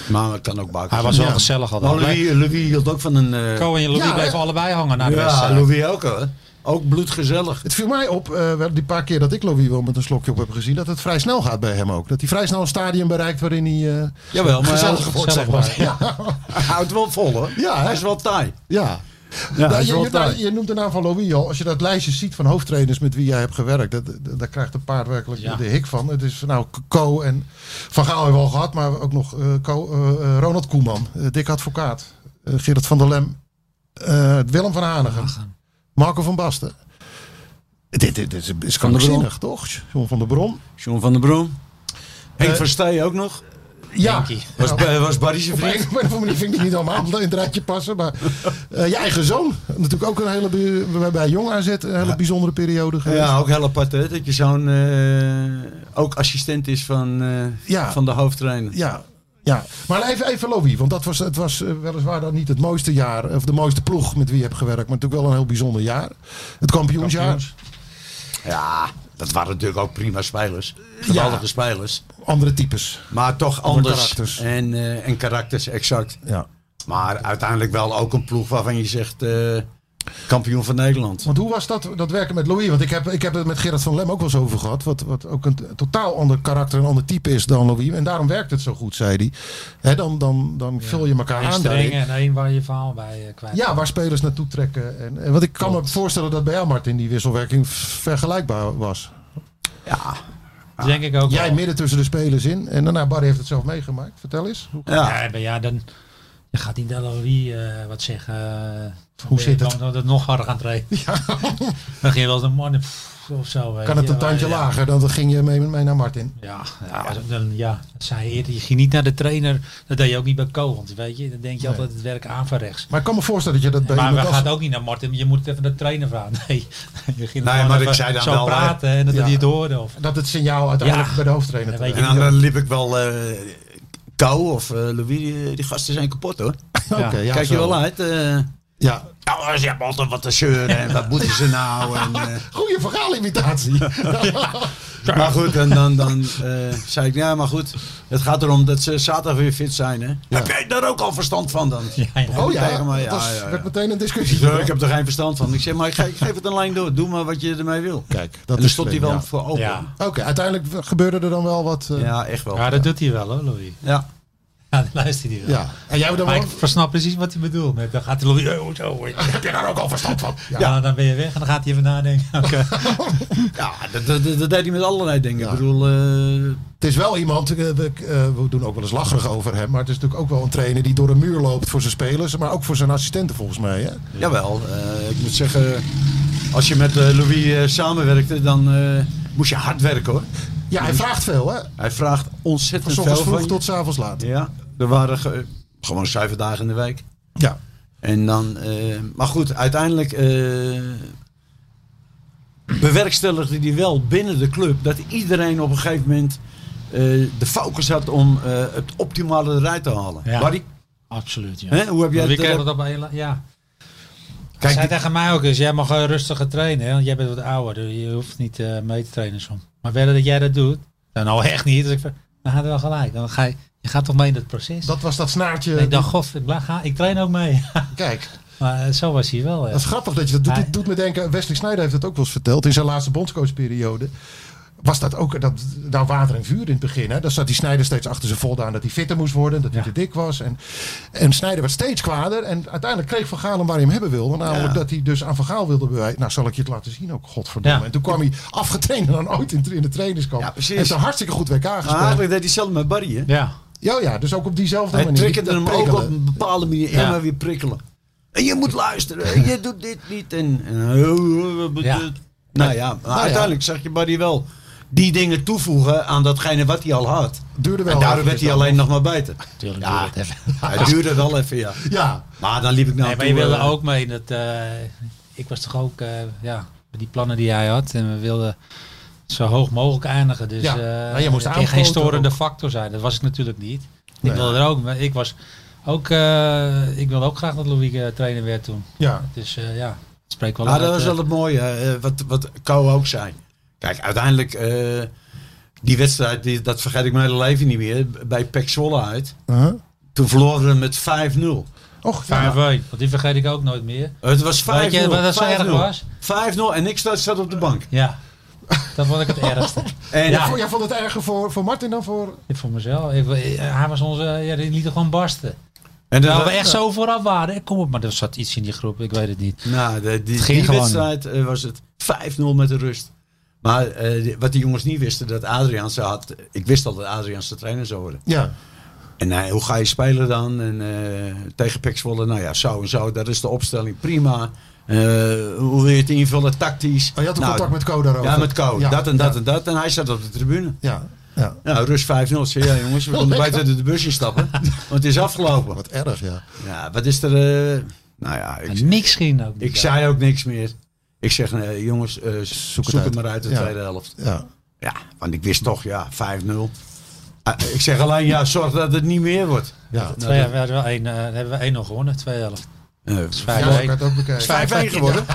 Speaker 5: Maar het kan ook bakken.
Speaker 3: Hij was wel
Speaker 4: Ja.
Speaker 3: gezellig
Speaker 5: Maar
Speaker 3: altijd.
Speaker 5: Louis, Louis hield ook van een... eh,
Speaker 3: Ko en Louis
Speaker 4: Ja,
Speaker 3: bleven
Speaker 4: eh,
Speaker 3: allebei hangen naar de
Speaker 5: ja,
Speaker 3: wedstrijd.
Speaker 5: Louis ook hè. Ook bloedgezellig.
Speaker 4: Het viel mij op, eh, wel die paar keer dat ik Louis wel met een slokje op heb gezien, dat het vrij snel gaat bij hem ook. Dat hij vrij snel een stadium bereikt waarin hij eh,
Speaker 5: Jawel, maar
Speaker 4: gezellig
Speaker 5: hij-
Speaker 4: wordt, zeg
Speaker 3: gezellig
Speaker 4: maar. Ja,
Speaker 5: hij houdt wel vol hoor.
Speaker 4: Ja, hè?
Speaker 5: hij is wel taai.
Speaker 4: ja.
Speaker 5: Ja,
Speaker 4: Nou,
Speaker 5: hij is
Speaker 4: je,
Speaker 5: wel
Speaker 4: je-
Speaker 5: taai.
Speaker 4: je noemt de naam van Louis al. Als je dat lijstje ziet van hoofdtrainers met wie jij hebt gewerkt, dat, dat, daar krijgt een paard werkelijk
Speaker 3: Ja.
Speaker 4: de hik van. Het is van, nou Co en Van Gaal hebben we al gehad, maar ook nog eh, Co, eh, eh, Ronald Koeman, eh, Dick Advocaat, eh, Gerard van der Lem, eh, Willem van Hanegem, Marco van Basten. Dit, dit, dit is krankzinnig, toch? John van der Brom.
Speaker 5: John van der Brom. Henk
Speaker 4: Eh,
Speaker 5: van Stij ook nog.
Speaker 4: Ja,
Speaker 3: Henkie.
Speaker 5: Was, Ba- was Barry zijn
Speaker 4: op een
Speaker 5: vriend.
Speaker 4: of andere manier vind ik die niet allemaal in het rijtje passen. Maar eh, je eigen zoon. Natuurlijk ook een hele, bu- bij- bij Jong AZ een hele bijzondere periode geweest.
Speaker 5: Ja, ook heel apart hè, dat je zo'n eh, ook assistent is van, eh,
Speaker 4: Ja.
Speaker 5: van de hoofdtrainer.
Speaker 4: Ja, ja. maar even, even Lobby, want dat was, het was eh, weliswaar dan niet het mooiste jaar, of de mooiste ploeg met wie je hebt gewerkt, maar natuurlijk wel een heel bijzonder jaar. Het kampioensjaar.
Speaker 5: Ja, dat waren natuurlijk ook prima spelers. Geweldige spelers.
Speaker 4: Andere types.
Speaker 5: Maar toch
Speaker 4: Andere
Speaker 5: anders.
Speaker 4: karakters.
Speaker 5: En, eh, en karakters, exact.
Speaker 4: Ja.
Speaker 5: Maar uiteindelijk wel ook een ploeg waarvan je zegt eh, kampioen van Nederland.
Speaker 4: Want hoe was dat, dat werken met Louis? Want ik heb, ik heb het met Gerard van Lem ook wel eens over gehad. Wat, wat ook een t- totaal ander karakter, een ander type is dan Louis. En daarom werkt het zo goed, zei hij. Hè, dan dan, dan vul je elkaar
Speaker 3: Eén
Speaker 4: aan.
Speaker 3: streng
Speaker 4: daarin.
Speaker 3: en één waar je verhaal bij eh, kwijt.
Speaker 4: Ja, waar spelers naartoe trekken. En, en wat ik kan me voorstellen dat bij jou, Martin, die wisselwerking v- vergelijkbaar was.
Speaker 3: Dat Denk ik ook.
Speaker 4: Jij
Speaker 3: wel.
Speaker 4: midden tussen de spelers in. En daarna, Barry heeft het zelf meegemaakt. Vertel eens. Hoe,
Speaker 5: Ja.
Speaker 3: Ja, maar ja, dan je gaat die Delorie eh wat zeggen. eh,
Speaker 4: Hoe zit het?
Speaker 3: Dan dat het nog harder gaan treden. dan ging je wel eens een man pff, of zo. weet
Speaker 4: kan het
Speaker 3: je,
Speaker 4: een
Speaker 3: maar,
Speaker 4: tandje
Speaker 3: ja.
Speaker 4: lager? Dan ging je mee, mee naar Martin.
Speaker 3: Ja, ja, dan, ja, dat zei je eerder. Je ging niet naar de trainer. Dat deed je ook niet bij Kogans, weet je. Dan denk je altijd het werk aan van rechts.
Speaker 4: Maar ik kan me voorstellen dat je dat bij
Speaker 3: Maar we
Speaker 4: iemand als-
Speaker 3: gaan ook niet naar Martin. Je moet het even naar de trainer vragen. Nee, je ging
Speaker 5: Nee,
Speaker 3: gewoon
Speaker 5: maar
Speaker 3: even
Speaker 5: ik zei dan
Speaker 3: zo
Speaker 5: wel, hè.
Speaker 3: praten en dat
Speaker 4: Ja.
Speaker 3: hij het hoorde. Of,
Speaker 4: dat het signaal uiteindelijk
Speaker 3: Ja.
Speaker 4: bij de hoofdtrainer
Speaker 3: Dat
Speaker 4: terecht.
Speaker 3: weet
Speaker 5: En dan liep ik wel eh Kou of eh, Louis, die, die gasten zijn kapot hoor.
Speaker 4: Oké, ja,
Speaker 5: Kijk je
Speaker 4: zo.
Speaker 5: wel uit. eh.
Speaker 4: Ja.
Speaker 5: ja, ze hebben altijd wat te zeuren en wat moeten ze nou. En, eh,
Speaker 4: Goeie verhaalimitatie.
Speaker 5: Maar goed, en dan, dan eh, zei ik, ja maar goed, het gaat erom dat ze zaterdag weer fit zijn. Hè? Heb jij daar ook al verstand van dan?
Speaker 3: ja, ja.
Speaker 4: Oh ja,
Speaker 5: Tegen mij, ja,
Speaker 4: dat is-
Speaker 5: ja, ja.
Speaker 4: werd meteen een
Speaker 5: Ik
Speaker 4: discussie.
Speaker 5: zeg, ik heb er geen verstand van. Ik zeg, maar ik ge- ik geef het een lijn door. Doe maar wat je ermee wil.
Speaker 4: Kijk, dat
Speaker 5: en dan
Speaker 4: is
Speaker 5: stond hij
Speaker 4: slim,
Speaker 5: wel
Speaker 4: ja.
Speaker 5: voor open.
Speaker 3: Ja.
Speaker 5: Ja,
Speaker 4: Oké, uiteindelijk gebeurde er dan wel wat. eh, ja.
Speaker 5: echt wel.
Speaker 3: Ja, dat doet hij wel hoor, Louis.
Speaker 5: Ja.
Speaker 3: Ja, dan luistert hij wel.
Speaker 4: En jij dan
Speaker 3: Maar
Speaker 4: wel?
Speaker 3: ik versnap precies wat hij bedoelt. Met, dan gaat hij Louis, oh, zo, eh,
Speaker 4: Heb je daar ook al verstand van? Ja.
Speaker 3: ja. dan ben je weg en dan gaat hij even nadenken. Oké.
Speaker 5: Ja, dat, dat, dat- dat deed hij met allerlei dingen.
Speaker 4: Ja.
Speaker 5: Ik bedoel, eh,
Speaker 4: Het is wel iemand, eh, we, eh, we doen ook wel eens lacherig over hem, maar het is natuurlijk ook wel een trainer die door een muur loopt voor zijn spelers, maar ook voor zijn assistenten volgens mij. Hè?
Speaker 5: jawel. eh, ik moet zeggen, als je met eh, Louis eh, samenwerkte, dan eh, moest je hard werken hoor.
Speaker 4: Ja, hij vraagt veel hè.
Speaker 5: Hij vraagt
Speaker 4: Van
Speaker 5: ontzettend veel
Speaker 4: ochtends
Speaker 5: van
Speaker 4: vroeg
Speaker 5: je.
Speaker 4: tot 's avonds laat.
Speaker 5: Ja, er waren ge- gewoon zeven dagen in de week.
Speaker 4: Ja.
Speaker 5: En dan, eh, maar goed, uiteindelijk eh bewerkstelligde hij wel binnen de club dat iedereen op een gegeven moment eh, de focus had om eh, het optimale eruit te halen.
Speaker 3: Ja.
Speaker 5: Barry,
Speaker 3: Absoluut, ja.
Speaker 5: hè, hoe heb jij
Speaker 3: Dus Wie
Speaker 5: het?
Speaker 3: kreeg
Speaker 5: eh,
Speaker 3: dat op een la- Ja.
Speaker 5: Kijk,
Speaker 3: zei
Speaker 5: die-
Speaker 3: tegen mij ook eens, jij mag eh, rustiger trainen, hè, want jij bent wat ouder, dus je hoeft niet eh, mee te trainen soms. Maar verder dat jij dat doet, dan nou echt niet. Dus ik ver- dan gaat het wel gelijk. Dan ga je, je gaat toch mee in dat proces.
Speaker 4: Dat eh, was dat snaartje.
Speaker 3: ik dacht, god, ik, blijf gaan, ik train ook mee.
Speaker 4: Kijk,
Speaker 3: maar eh, zo was hij wel. hè.
Speaker 4: dat is grappig dat je dat doet.
Speaker 3: Hij-
Speaker 4: Dit doet me denken, Wesley Sneijder heeft het ook wel eens verteld in zijn laatste bondscoachperiode. Was dat ook dat, nou water en vuur in het begin? Hè? Dan zat die Snijder steeds achter zijn voldaan dat hij fitter moest worden, dat hij
Speaker 3: Ja.
Speaker 4: te dik was. En, en Snijder werd steeds kwader. En uiteindelijk kreeg Van Gaal hem waar hij hem hebben wilde. Namelijk dat hij dus aan Van Gaal wilde bewijzen. Nou, zal ik je het laten zien ook, godverdomme.
Speaker 3: Ja.
Speaker 4: En toen kwam hij afgetraind en dan ooit in, in de trainingskamp.
Speaker 5: Ja, precies.
Speaker 4: en is een hartstikke goed WK
Speaker 5: maar
Speaker 4: gespeeld.
Speaker 5: eigenlijk deed hij zelf met Barry. Hè?
Speaker 3: Ja,
Speaker 4: Ja, ja, dus ook op diezelfde
Speaker 5: Hij
Speaker 4: manier.
Speaker 5: triggerde
Speaker 4: Dat
Speaker 5: hem ook op
Speaker 4: prikkelen.
Speaker 5: een bepaalde manier
Speaker 3: Ja.
Speaker 5: en maar weer prikkelen. En je moet luisteren, en je doet dit niet. En, en- eh, oh, Nou ja, maar
Speaker 4: ja.
Speaker 5: uiteindelijk zag je Barry wel die dingen toevoegen aan datgene wat hij al had.
Speaker 4: Duurde wel
Speaker 5: en daardoor
Speaker 4: even,
Speaker 5: werd
Speaker 4: dus
Speaker 5: hij
Speaker 4: dan.
Speaker 5: alleen nog maar beter.
Speaker 3: tuurlijk.
Speaker 5: Ja.
Speaker 3: doe je dat even.
Speaker 5: Hij duurde wel even, ja.
Speaker 4: Ja,
Speaker 5: Maar dan liep ik naar
Speaker 4: Nou,
Speaker 3: Nee, maar
Speaker 5: hem
Speaker 3: je
Speaker 5: toe,
Speaker 3: wilde
Speaker 5: eh,
Speaker 3: ook mee. Dat, eh, ik was toch ook, eh, ja, met die plannen die hij had. En we wilden zo hoog mogelijk eindigen. Dus
Speaker 4: Ja,
Speaker 3: eh,
Speaker 4: maar je moest
Speaker 3: het kan
Speaker 4: aanpoten
Speaker 3: geen storende factor zijn. Dat was ik natuurlijk niet.
Speaker 4: Nee.
Speaker 3: Ik wilde er ook, maar ik was ook, eh, ik wilde ook graag dat Louis eh, trainer werd toen.
Speaker 4: ja.
Speaker 3: Dus eh, ja, het spreekt wel
Speaker 5: Ja,
Speaker 3: uit,
Speaker 5: Ah, dat was
Speaker 3: eh.
Speaker 5: wel het mooie, eh, wat, wat Kou ook zei. Kijk, uiteindelijk, eh, die wedstrijd, die, dat vergeet ik mijn hele leven niet meer, bij Pek Zwolle uit.
Speaker 4: Uh-huh.
Speaker 5: Toen verloren we met 5-0.
Speaker 4: Och, ja.
Speaker 3: 5-1, want die vergeet ik ook nooit meer.
Speaker 5: Het was 5-0.
Speaker 3: Weet je wat dat zo erg
Speaker 5: 5-0.
Speaker 3: was?
Speaker 5: 5-0 en ik zat, zat op de bank.
Speaker 3: Ja, dat vond ik het ergste.
Speaker 5: En eh,
Speaker 4: Jij
Speaker 3: Ja.
Speaker 4: vond- Jij vond het erger voor, voor Martin dan voor...
Speaker 3: Ik voor mezelf. Ik, eh, hij was onze, ja, die liet er gewoon barsten.
Speaker 5: en dat-
Speaker 3: Terwijl Nou, we echt zo vooraf waren. Kom op, maar er zat iets in die groep, ik weet het niet.
Speaker 5: Nou, de- die,
Speaker 3: Het ging
Speaker 5: die
Speaker 3: gewoon.
Speaker 5: wedstrijd eh, was het 5-0 met de rust. Maar eh, die- wat die jongens niet wisten, dat Adriaanse had... Ik wist al dat Adriaanse trainer zou worden.
Speaker 4: Ja.
Speaker 5: En eh, hoe ga je spelen dan? En, eh, tegen Pek Zwolle, nou ja, zo en zo. Dat is de opstelling. Prima. Eh, hoe wil je het invullen? Tactisch.
Speaker 4: Oh, je had een
Speaker 5: Nou,
Speaker 4: contact met Co daarover.
Speaker 5: Ja, met Kou.
Speaker 4: Ja,
Speaker 5: dat en dat
Speaker 4: ja.
Speaker 5: en dat. En hij zat op de tribune.
Speaker 4: Ja, ja.
Speaker 5: Nou, rust 5-0. Ik Zei, ja jongens, we konden
Speaker 4: Lekker.
Speaker 5: buiten de bus instappen. Want het is afgelopen.
Speaker 4: Wat erg, ja.
Speaker 5: Ja, wat is er... eh, nou ja, ik,
Speaker 3: En niks ging ook.
Speaker 5: ik zei ook niks meer. Ik zeg, nee, jongens, eh, zoek, het,
Speaker 4: uit.
Speaker 5: maar uit de
Speaker 4: Ja.
Speaker 5: tweede helft.
Speaker 4: ja.
Speaker 5: Ja, want ik wist toch, ja, 5-0. Ah, ik zeg alleen, ja, zorg dat het niet meer wordt.
Speaker 4: Ja,
Speaker 3: Twee, we hadden wel één, eh, hebben we één nog gewonnen, twee helft.
Speaker 5: Eh,
Speaker 3: Vijf,
Speaker 4: ja, ik
Speaker 3: één.
Speaker 4: had het ook bekeken.
Speaker 5: 5-1 geworden?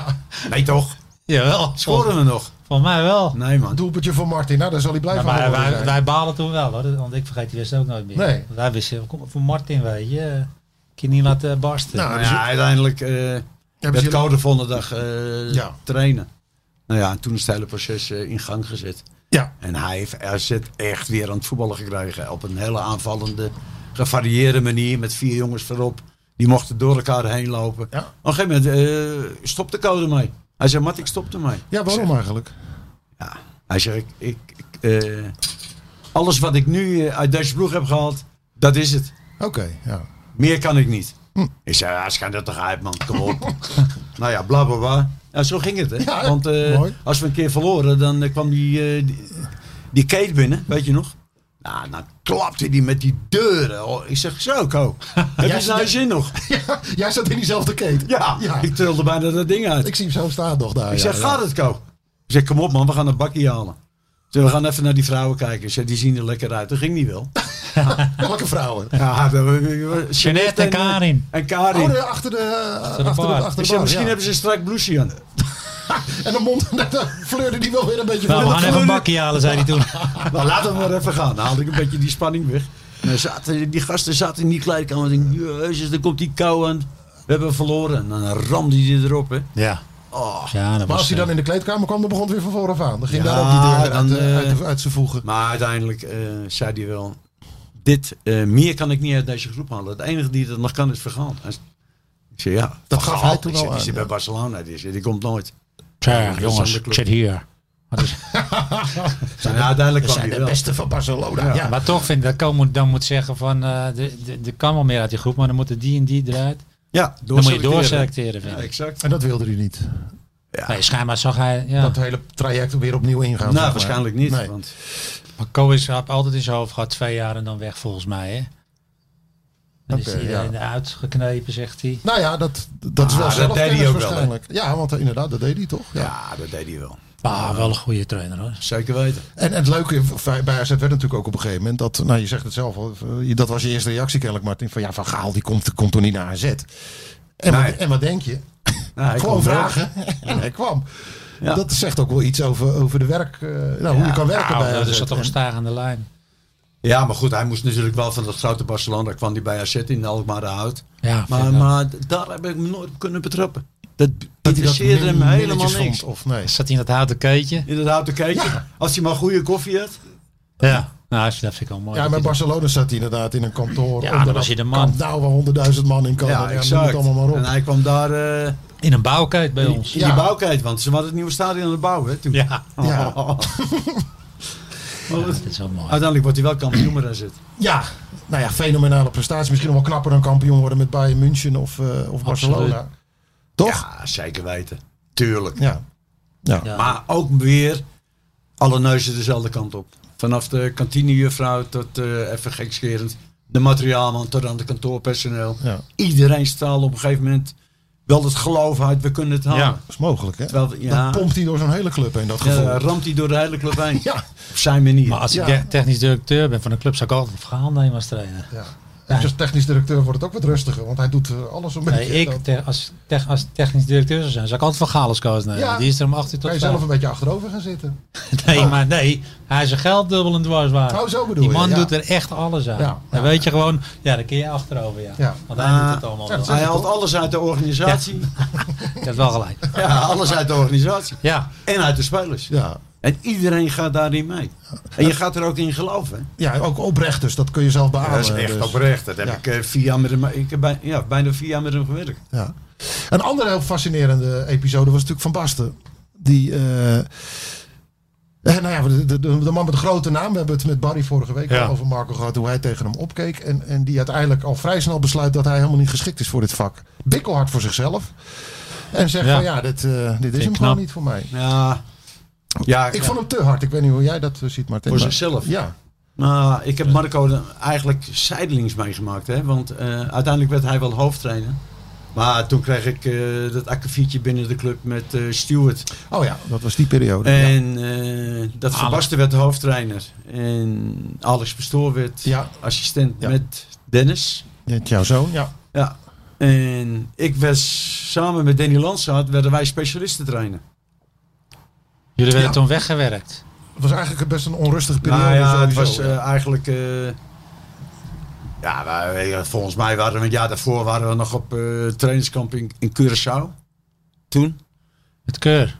Speaker 5: Nee toch?
Speaker 3: Jawel,
Speaker 5: Scoren we nog?
Speaker 3: Voor mij wel.
Speaker 5: Nee man.
Speaker 4: Doelpuntje voor Martin, nou, daar zal hij blij
Speaker 3: Ja,
Speaker 4: van
Speaker 3: maar
Speaker 4: worden.
Speaker 3: wij, wij balen toen wel hoor, want ik vergeet die wedstrijd ook nooit meer.
Speaker 4: Nee.
Speaker 3: Wij wisten, kom voor Martin weet je, eh, kun je niet laten barsten.
Speaker 4: Nou,
Speaker 5: Nou
Speaker 4: dus-
Speaker 5: ja, uiteindelijk eh
Speaker 4: Hebben
Speaker 5: met
Speaker 4: ze-
Speaker 5: koude volgende dag eh,
Speaker 4: Ja.
Speaker 5: trainen. Nou ja, en toen is het hele proces eh, in gang gezet.
Speaker 4: Ja,
Speaker 5: En hij heeft AZ echt weer aan het voetballen gekregen. Op een hele aanvallende, gevarieerde manier. Met vier jongens voorop. Die mochten door elkaar heen lopen.
Speaker 4: Ja.
Speaker 5: Op een gegeven moment eh, stopte Code mij. Hij zei, Mat, ik stopte mij.
Speaker 4: ja waarom eigenlijk?
Speaker 5: Ja. Hij zegt, ik, ik, ik, eh, alles wat ik nu eh, uit deze ploeg heb gehaald, dat is het.
Speaker 4: Oké, ja.
Speaker 5: Meer kan ik niet.
Speaker 4: Hm.
Speaker 5: Ik zei, ja, schijn dat toch uit, man. Kom op. nou ja, bla bla bla. Ja, zo ging het, hè.
Speaker 4: Ja,
Speaker 5: Want eh,
Speaker 4: mooi.
Speaker 5: als we een keer verloren, dan eh, kwam die, eh, die, die Kate binnen, weet je nog? Nou, dan klapte die met die deuren. Oh, ik zeg, zo, Ko. Heb
Speaker 4: Ja,
Speaker 5: je nou
Speaker 4: ja.
Speaker 5: je zin nog?
Speaker 4: ja. Jij zat in diezelfde keten.
Speaker 5: Ja.
Speaker 4: ja.
Speaker 5: Ik trilde bijna dat ding uit.
Speaker 4: Ik zie hem zo staan nog daar.
Speaker 5: Ik
Speaker 4: ja,
Speaker 5: zeg,
Speaker 4: ja.
Speaker 5: gaat het, Ko? Ik zeg, kom op, man. We gaan een bakje halen. Ik zeg, we gaan even naar die vrouwen kijken. Ik zeg, die zien er lekker uit. Dat ging niet wel.
Speaker 4: Welke vrouwen?
Speaker 5: Ja, we- we- we- we-
Speaker 3: Jeanette en Karin.
Speaker 5: En Karin.
Speaker 4: Oh, nee, achter de, eh, achter de, achter
Speaker 3: bar.
Speaker 4: de,
Speaker 5: Ik zeg,
Speaker 4: bar,
Speaker 5: misschien
Speaker 4: ja.
Speaker 5: hebben ze een strak blouseje aan.
Speaker 4: En de mond, daar fleurde die wel weer een beetje
Speaker 3: Nou, we
Speaker 4: van.
Speaker 3: gaan even een bakje halen, zei hij toen.
Speaker 5: Nou, laten we maar even gaan. Dan haalde ik een beetje die spanning weg. En dan zaten, die gasten zaten in die kleedkamer. En ik denk, jezus, dan komt die kou aan. We hebben verloren. En dan ramde hij erop, hè.
Speaker 4: Ja.
Speaker 5: Oh.
Speaker 3: Ja, dat
Speaker 4: Maar als
Speaker 3: was,
Speaker 4: hij dan
Speaker 3: eh,
Speaker 4: in de kleedkamer kwam, dan begon het weer van vooraf aan. Dan ging
Speaker 5: Ja,
Speaker 4: daar ook die deur
Speaker 5: dan,
Speaker 4: uit, eh,
Speaker 5: eh,
Speaker 4: uit, de- uit zijn voegen.
Speaker 5: Maar uiteindelijk eh, zei hij wel... Dit, eh, meer kan ik niet uit deze groep halen. Het enige die dat nog kan is vergaan. Ik zei, ja.
Speaker 4: Dat
Speaker 5: Van
Speaker 4: gaf
Speaker 5: Gaal.
Speaker 4: hij toen
Speaker 5: Ik zei,
Speaker 4: al
Speaker 5: Die
Speaker 4: aan,
Speaker 5: zit bij
Speaker 4: ja.
Speaker 5: Barcelona. Die, zit- die komt nooit.
Speaker 3: Tja,
Speaker 5: dat is
Speaker 3: jongens,
Speaker 5: aan de
Speaker 3: ik
Speaker 5: club.
Speaker 3: zit hier. Maar, dus-
Speaker 5: Nou, ja, uiteindelijk kwam hij wel.
Speaker 4: van Barcelona. Ja.
Speaker 3: maar toch vind ik dat Ko moet, dan moet zeggen van, eh de- de- de kan wel meer uit die groep, maar dan moeten die en die eruit.
Speaker 5: Ja,
Speaker 3: Dan moet je
Speaker 5: doorselecteren.
Speaker 3: doorselecteren, vind
Speaker 5: Ja,
Speaker 3: ik.
Speaker 5: exact.
Speaker 4: En dat wilde hij niet.
Speaker 3: Nee, schijnbaar zag hij, ja.
Speaker 4: Dat hele traject weer opnieuw ingaan. zeg
Speaker 5: Nou,
Speaker 4: maar.
Speaker 5: waarschijnlijk niet.
Speaker 4: Nee.
Speaker 5: Want
Speaker 3: Maar Ko is heeft altijd in zijn hoofd gehad, twee jaar en dan weg volgens mij, hè. Dan
Speaker 4: Oké,
Speaker 3: is
Speaker 4: ja.
Speaker 3: hij eh, uitgeknepen, zegt hij.
Speaker 4: Nou ja, dat, dat is wel
Speaker 5: Ah, dat
Speaker 4: zelfkennis
Speaker 5: deed hij ook wel, hè?
Speaker 4: waarschijnlijk. ja, want eh, inderdaad, dat deed hij toch. Ja.
Speaker 5: ja, dat deed hij wel.
Speaker 3: Maar wel een goede trainer, hoor.
Speaker 5: Zeker weten.
Speaker 4: En het leuke bij AZ werd natuurlijk ook op een gegeven moment dat, nou je zegt het zelf, al, eh, dat was je eerste reactie kennelijk Martin, van ja, Van Gaal die komt, komt toch niet naar AZ. En,
Speaker 5: Nee.
Speaker 4: wat, en wat denk je?
Speaker 5: Nou, hij
Speaker 4: Gewoon
Speaker 5: kwam wel.
Speaker 4: vragen. En hij kwam.
Speaker 5: Ja.
Speaker 4: Dat zegt ook wel iets over, over de werk, eh, nou, hoe je kan werken
Speaker 3: Nou,
Speaker 4: bij
Speaker 3: dat
Speaker 4: AZ.
Speaker 3: is toch een stagende lijn.
Speaker 5: Ja, maar goed, hij moest natuurlijk wel van dat grote Barcelona. kwam hij bij AZ in Alkmaar Hout.
Speaker 3: Ja, vind
Speaker 5: Maar,
Speaker 3: ik ook.
Speaker 5: maar daar heb ik me nooit op kunnen betrappen.
Speaker 4: dat
Speaker 5: Dat
Speaker 4: hij dat
Speaker 5: interesseerde hem
Speaker 4: min-
Speaker 5: helemaal
Speaker 4: minnetjes
Speaker 5: niks.
Speaker 4: vond, Of nee.
Speaker 3: Zat hij in dat houten keutje?
Speaker 5: Inderdaad, te kijken. Als hij maar goede koffie had.
Speaker 3: Ja. Nou, dat vind ik wel mooi.
Speaker 4: Ja,
Speaker 3: dat
Speaker 4: bij
Speaker 3: hij dat-
Speaker 4: Barcelona zat hij inderdaad in een kantoor.
Speaker 3: Ja,
Speaker 4: onder
Speaker 3: dan was
Speaker 4: dat
Speaker 3: hij de man.
Speaker 4: Camp Nou, waar honderdduizend man in kan. Ja, ja, noem het allemaal maar
Speaker 5: En
Speaker 4: op.
Speaker 5: hij kwam daar eh,
Speaker 3: In een bouwkeut bij
Speaker 5: in
Speaker 3: ons.
Speaker 5: die
Speaker 4: Ja.
Speaker 5: bouwkijt. Want ze hadden het nieuwe stadion aan het bouwen. Hè, toen. Oh.
Speaker 3: Ja.
Speaker 4: Ja.
Speaker 5: Maar
Speaker 3: Dat is wel
Speaker 4: Oh,
Speaker 3: mooi.
Speaker 5: Uiteindelijk wordt hij wel kampioen maar daar zit.
Speaker 4: Ja, nou ja, fenomenale prestatie. Misschien nog wel knapper dan kampioen worden met Bayern München of, eh, of Barcelona. Toch?
Speaker 5: Ja, zeker weten. Tuurlijk.
Speaker 4: Ja. Ja.
Speaker 3: Ja.
Speaker 5: Maar ook weer alle neuzen dezelfde kant op. Vanaf de kantinejuffrouw tot, eh even gekscherend, de materiaalman tot aan de kantoorpersoneel.
Speaker 4: Ja.
Speaker 5: Iedereen straalde op een gegeven moment wel het geloof uit, we kunnen het halen.
Speaker 3: Ja.
Speaker 4: Dat is mogelijk, hè?
Speaker 5: Terwijl, ja,
Speaker 4: Dan pompt hij door zo'n hele club heen, dat
Speaker 5: ja,
Speaker 4: gevoel. Ja,
Speaker 5: dan ramt hij door de hele club heen.
Speaker 4: ja.
Speaker 5: Op zijn manier.
Speaker 3: Maar als ik
Speaker 4: Ja.
Speaker 3: de- technisch directeur ben van een club, zou ik altijd verhaal nemen als trainer.
Speaker 4: En als technisch directeur wordt het ook wat rustiger, want hij doet eh, alles een beetje.
Speaker 3: Nee, ik,
Speaker 4: Dan
Speaker 3: te- als, tech- als technisch directeur zou zijn, zou ik altijd van Gaal als coach nemen.
Speaker 4: Ja.
Speaker 3: Die is er om 8 uur
Speaker 4: kan
Speaker 3: tot
Speaker 4: je zelf
Speaker 3: 5.
Speaker 4: een beetje achterover gaan zitten.
Speaker 3: Nee, maar nee, hij is zijn geld dubbel en dwars waard.
Speaker 4: Oh, zo bedoel
Speaker 3: Die
Speaker 4: je,
Speaker 3: man
Speaker 4: ja.
Speaker 3: doet er echt alles aan.
Speaker 4: Ja, ja,
Speaker 3: Dan weet je gewoon, ja, dan kun je achterover, ja.
Speaker 4: Ja.
Speaker 3: Want hij
Speaker 5: Ah,
Speaker 3: doet het allemaal
Speaker 4: ja,
Speaker 3: wel.
Speaker 4: dat
Speaker 5: hij haalt alles uit de organisatie.
Speaker 3: Je
Speaker 5: Ja.
Speaker 3: hebt wel gelijk.
Speaker 5: alles uit de organisatie.
Speaker 3: Ja,
Speaker 5: En uit de spelers.
Speaker 4: Ja.
Speaker 5: En iedereen gaat daarin mee. En je gaat er ook in geloven. hè.
Speaker 4: ja, ook oprecht dus, dat kun je zelf
Speaker 5: Ja,
Speaker 4: beamen.
Speaker 5: dat is echt
Speaker 4: dus.
Speaker 5: oprecht. Dat heb
Speaker 4: Ja.
Speaker 5: ik, eh, vier jaar met hem, ik heb bij, ja, bijna vier jaar met hem gewerkt.
Speaker 4: Ja. Een andere heel fascinerende episode was natuurlijk Van Basten. Die eh, Eh, nou ja, de, de, de, de man met de grote naam. We hebben het met Barry vorige week
Speaker 6: Ja.
Speaker 4: al over Marco gehad. Hoe hij tegen hem opkeek. En, en die uiteindelijk al vrij snel besluit dat hij helemaal niet geschikt is voor dit vak. Bikkelhard voor zichzelf. En zegt
Speaker 3: Ja.
Speaker 4: van ja, dit, eh, dit is hem
Speaker 3: knap.
Speaker 4: gewoon niet voor mij.
Speaker 5: Ja, ja
Speaker 4: Ik vond hem te hard. Ik weet niet hoe jij dat eh, ziet, Martin.
Speaker 5: Voor
Speaker 4: maar-
Speaker 5: zichzelf?
Speaker 4: Ja.
Speaker 5: Maar Nou, ik heb Marco dan eigenlijk zijdelings meegemaakt. Hè? Want eh, uiteindelijk werd hij wel hoofdtrainer. Maar toen kreeg ik eh, dat akkefietje binnen de club met eh Stewart.
Speaker 4: Oh ja, dat was die periode. ja.
Speaker 5: En eh, dat Van Basten werd hoofdtrainer. En Alex Pastoor werd
Speaker 4: Ja.
Speaker 5: assistent
Speaker 4: Ja.
Speaker 5: met Dennis.
Speaker 4: Met jouw zoon, ja.
Speaker 5: Ja. En ik was samen met Danny Landsaat werden wij specialisten trainen.
Speaker 3: Jullie werden
Speaker 4: Ja.
Speaker 3: toen weggewerkt.
Speaker 4: Het was eigenlijk best een onrustige periode.
Speaker 5: Nou ja, het
Speaker 4: sowieso,
Speaker 5: was
Speaker 4: ja.
Speaker 5: eh, eigenlijk. eh, ja, wij- eh, volgens mij waren we een jaar daarvoor waren we nog op eh trainingskamp in, in Curaçao. Toen?
Speaker 3: Het keur.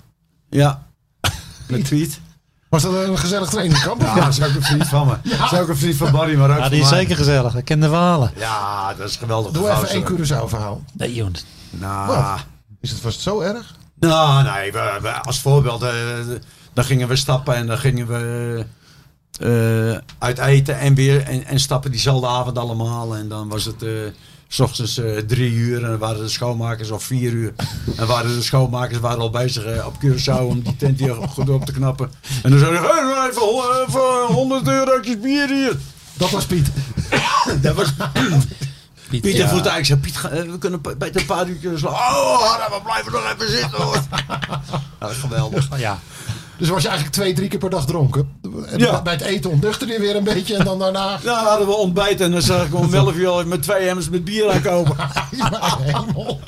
Speaker 5: Ja. Met Piet.
Speaker 4: Was dat een gezellig trainingkamp?
Speaker 5: Ja, dat is ook een vriend van me. Dat is ook een vriend van Barry, maar ook
Speaker 3: Ja,
Speaker 5: van
Speaker 3: die is
Speaker 5: mij.
Speaker 3: zeker gezellig. Ik ken de Walen.
Speaker 5: Ja, dat is geweldig.
Speaker 4: Doe even één Curaçao verhaal.
Speaker 3: Nee, jongens.
Speaker 5: Nou,
Speaker 4: Wat? Is het, was het zo erg?
Speaker 5: nou nee, we, we- als voorbeeld, eh, dan gingen we stappen en dan gingen we eh, uit eten en weer en, en stappen diezelfde avond allemaal. En dan was het eh, s ochtends eh, drie uur en dan waren de schoonmakers of vier uur. En waren de schoonmakers waren al bezig eh, op Curaçao om die tent hier goed op te knappen. En dan zeiden ze, hey, even, ho- even 100 eurotjes bier hier.
Speaker 4: Dat was Piet.
Speaker 5: Dat was
Speaker 3: Piet,
Speaker 5: Pieter
Speaker 3: ja.
Speaker 5: voelde eigenlijk zei, Piet, ga- eh, we kunnen pa- bij een paar uurtjes slaan. Oh, Harra, we blijven nog even zitten hoor. Ja, geweldig.
Speaker 3: Ja,
Speaker 4: Dus was je eigenlijk twee, drie keer per dag dronken. En
Speaker 5: Ja.
Speaker 4: Bij het eten ontnuchter je weer een beetje. En dan daarna
Speaker 5: Nou hadden we ontbijt en dan zag ik om 11 uur al met twee emmers met bier aankomen.
Speaker 4: helemaal.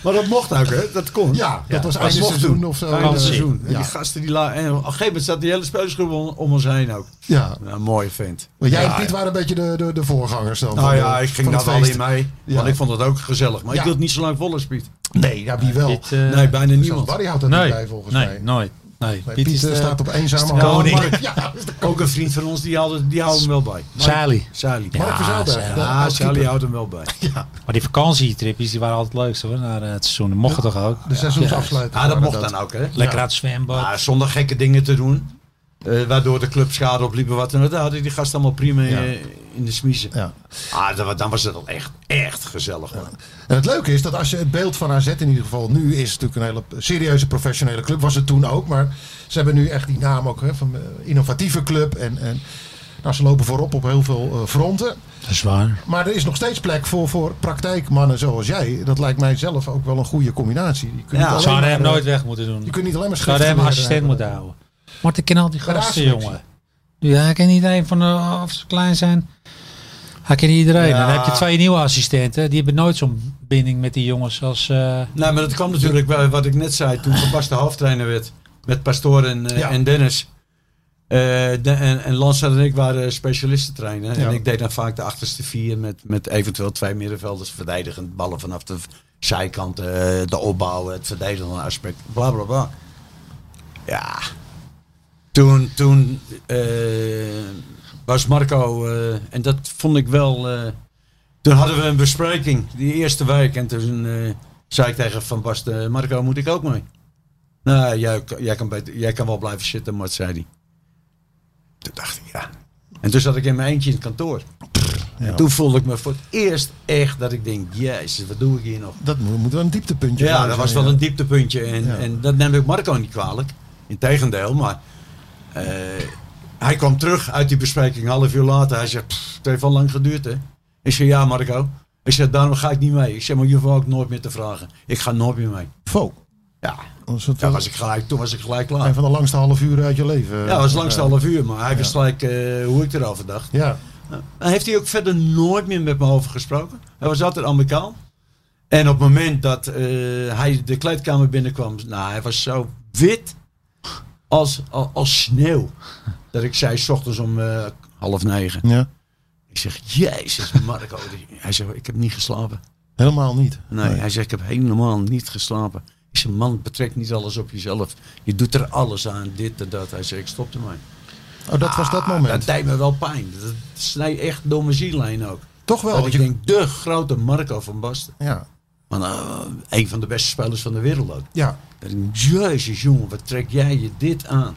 Speaker 5: Maar dat mocht ook, hè? Dat kon.
Speaker 4: Ja, dat was einde
Speaker 5: mocht
Speaker 4: seizoen
Speaker 5: toen.
Speaker 4: of zo.
Speaker 5: Einde
Speaker 4: Eh,
Speaker 5: seizoen. En
Speaker 4: Ja.
Speaker 5: die gasten die la- en op een gegeven moment zat die hele spelersgroep om, om ons heen ook.
Speaker 4: ja.
Speaker 5: Nou, mooi vent.
Speaker 4: Maar jij en
Speaker 5: Ja,
Speaker 4: Piet waren een beetje de, de, de voorgangers dan. van
Speaker 5: Nou
Speaker 4: de-
Speaker 5: ja, ik ging
Speaker 4: van
Speaker 5: daar
Speaker 4: het
Speaker 5: wel
Speaker 4: feest.
Speaker 5: in mee.
Speaker 4: Ja.
Speaker 5: Want ik vond het ook gezellig. Maar
Speaker 4: Ja.
Speaker 5: ik wil het niet zo lang vol als Piet.
Speaker 4: Nee, ja, wie wel.
Speaker 3: Piet, eh,
Speaker 5: Nee, bijna
Speaker 4: Zelfs
Speaker 5: niemand.
Speaker 4: Barry houdt dat
Speaker 3: nee,
Speaker 4: niet bij volgens
Speaker 3: nee,
Speaker 4: mij.
Speaker 3: nooit. Nee,
Speaker 4: Nee, Piet, eh, staat op eenzame
Speaker 5: de
Speaker 4: handen.
Speaker 5: koning.
Speaker 4: Ja,
Speaker 5: Ook een vriend van ons, die houdt die houdt hem wel bij.
Speaker 3: Sally.
Speaker 5: Sally.
Speaker 4: Mark van Zijlberg, de
Speaker 5: Ja,
Speaker 4: oud-keeper.
Speaker 5: Sally houdt hem wel bij.
Speaker 3: Maar die vakantietripjes die waren altijd leuk hoor, naar eh, het seizoen. Dat mochten toch ook?
Speaker 4: De seizoensafsluiting.
Speaker 5: Ja, Ah, dat mocht
Speaker 4: waren
Speaker 5: dan ook, hè?
Speaker 3: Lekker aan het zwembad.
Speaker 5: Maar zonder gekke dingen te doen. eh, waardoor de club schade opliep en wat. En dat hadden die gasten allemaal prima eh, in de smiezen.
Speaker 4: Ja.
Speaker 5: Ah, dan, dan was het al echt, echt gezellig. man.
Speaker 4: En het leuke is dat als je het beeld van AZ in ieder geval nu is natuurlijk een hele serieuze professionele club. Was het toen ook, maar ze hebben nu echt die naam ook hè, van eh, innovatieve club en, en nou, ze lopen voorop op heel veel eh, fronten.
Speaker 3: Dat is waar.
Speaker 4: Maar er is nog steeds plek voor, voor praktijkmannen zoals jij. Dat lijkt mij zelf ook wel een goede combinatie. Je kunt
Speaker 5: Ja,
Speaker 4: niet alleen
Speaker 3: Ze hadden
Speaker 4: maar,
Speaker 3: hem
Speaker 4: eh,
Speaker 3: nooit weg moeten doen.
Speaker 4: Je kunt niet alleen maar
Speaker 3: Ze hadden hem
Speaker 4: schriftgeleerden
Speaker 3: assistent
Speaker 4: hebben.
Speaker 3: moeten houden. Maar ik ken al die
Speaker 4: Bij de
Speaker 3: gasten,
Speaker 4: A-selectie.
Speaker 3: jongen. Ja, hij kent niet iedereen van de, of ze klein zijn. Hij kent iedereen.
Speaker 5: Ja.
Speaker 3: En dan heb je twee nieuwe assistenten. Die hebben nooit zo'n binding met die jongens als... eh,
Speaker 5: Nee, Nou, maar dat kwam natuurlijk bij wat ik net zei toen Van Basten hoofdtrainer werd. Met Pastoor en, eh,
Speaker 4: Ja.
Speaker 5: en Dennis. Eh, de- en en Lansat en ik waren specialisten trainen.
Speaker 4: Ja.
Speaker 5: En ik deed dan vaak de achterste vier met, met eventueel twee middenvelders verdedigend. Ballen vanaf de v- zijkant, eh, de opbouw, het verdedigende aspect. Bla bla bla. Ja. Toen, toen eh, was Marco, eh, en dat vond ik wel. eh, toen hadden we een bespreking die eerste week. En toen eh, zei ik tegen Van Basten: "Eh, Marco, moet ik ook mee? Nou, jij, jij, kan, beter- jij kan wel blijven zitten, Mart, zei hij. Toen dacht ik, ja. En toen zat ik in mijn eentje in het kantoor. En toen voelde ik me voor het eerst echt dat ik denk, jezus, wat doe ik hier nog?
Speaker 4: Dat moet, moet wel een dieptepuntje
Speaker 5: Ja,
Speaker 4: zijn,
Speaker 5: dat was
Speaker 4: ja.
Speaker 5: wel een dieptepuntje. En,
Speaker 4: Ja.
Speaker 5: en dat neem ik Marco niet kwalijk. Integendeel, maar eh, hij kwam terug uit die bespreking een half uur later. Hij zegt, "Pff, het heeft al lang geduurd hè. Ik zeg, ja Marco. Ik zeg, daarom ga ik niet mee. Ik zeg, maar je hoeft me ook nooit meer te vragen. Ik ga nooit meer mee.
Speaker 4: Fo.
Speaker 5: Ja,
Speaker 4: Dat is het
Speaker 5: ja
Speaker 4: wel
Speaker 5: was ik gelijk, toen was ik gelijk klaar.
Speaker 4: een van de langste half uur uit je leven.
Speaker 5: Ja, dat was langs de half uur, maar hij
Speaker 4: Ja.
Speaker 5: wist gelijk eh, hoe ik erover dacht.
Speaker 4: Ja,
Speaker 5: Hij heeft hij ook verder nooit meer met me over gesproken. Hij was altijd Amerikaan. En op het moment dat eh, hij de kleedkamer binnenkwam, nou, hij was zo wit als, als, als sneeuw. Dat ik zei, s ochtends om eh, half negen.
Speaker 4: ja.
Speaker 5: Ik zeg, jezus Marco. Hij zegt, ik heb niet geslapen.
Speaker 4: helemaal niet.
Speaker 5: Nee, hij zegt, ik heb helemaal niet geslapen. Ik zeg, man, betrek niet alles op jezelf. Je doet er alles aan, dit en dat. Hij zegt, ik stopte mij.
Speaker 4: Oh, dat was dat
Speaker 5: Ah,
Speaker 4: moment.
Speaker 5: Dat deed me wel pijn. Dat snijdt echt door mijn ziellijn ook.
Speaker 4: Toch wel.
Speaker 5: dat
Speaker 4: Want
Speaker 5: ik
Speaker 4: je,
Speaker 5: denk, de grote Marco van Basten.
Speaker 4: ja,
Speaker 5: Maar nou, een van de beste spelers van de wereld ook.
Speaker 4: ja.
Speaker 5: Dat ik denk, jezus jongen, wat trek jij je dit aan?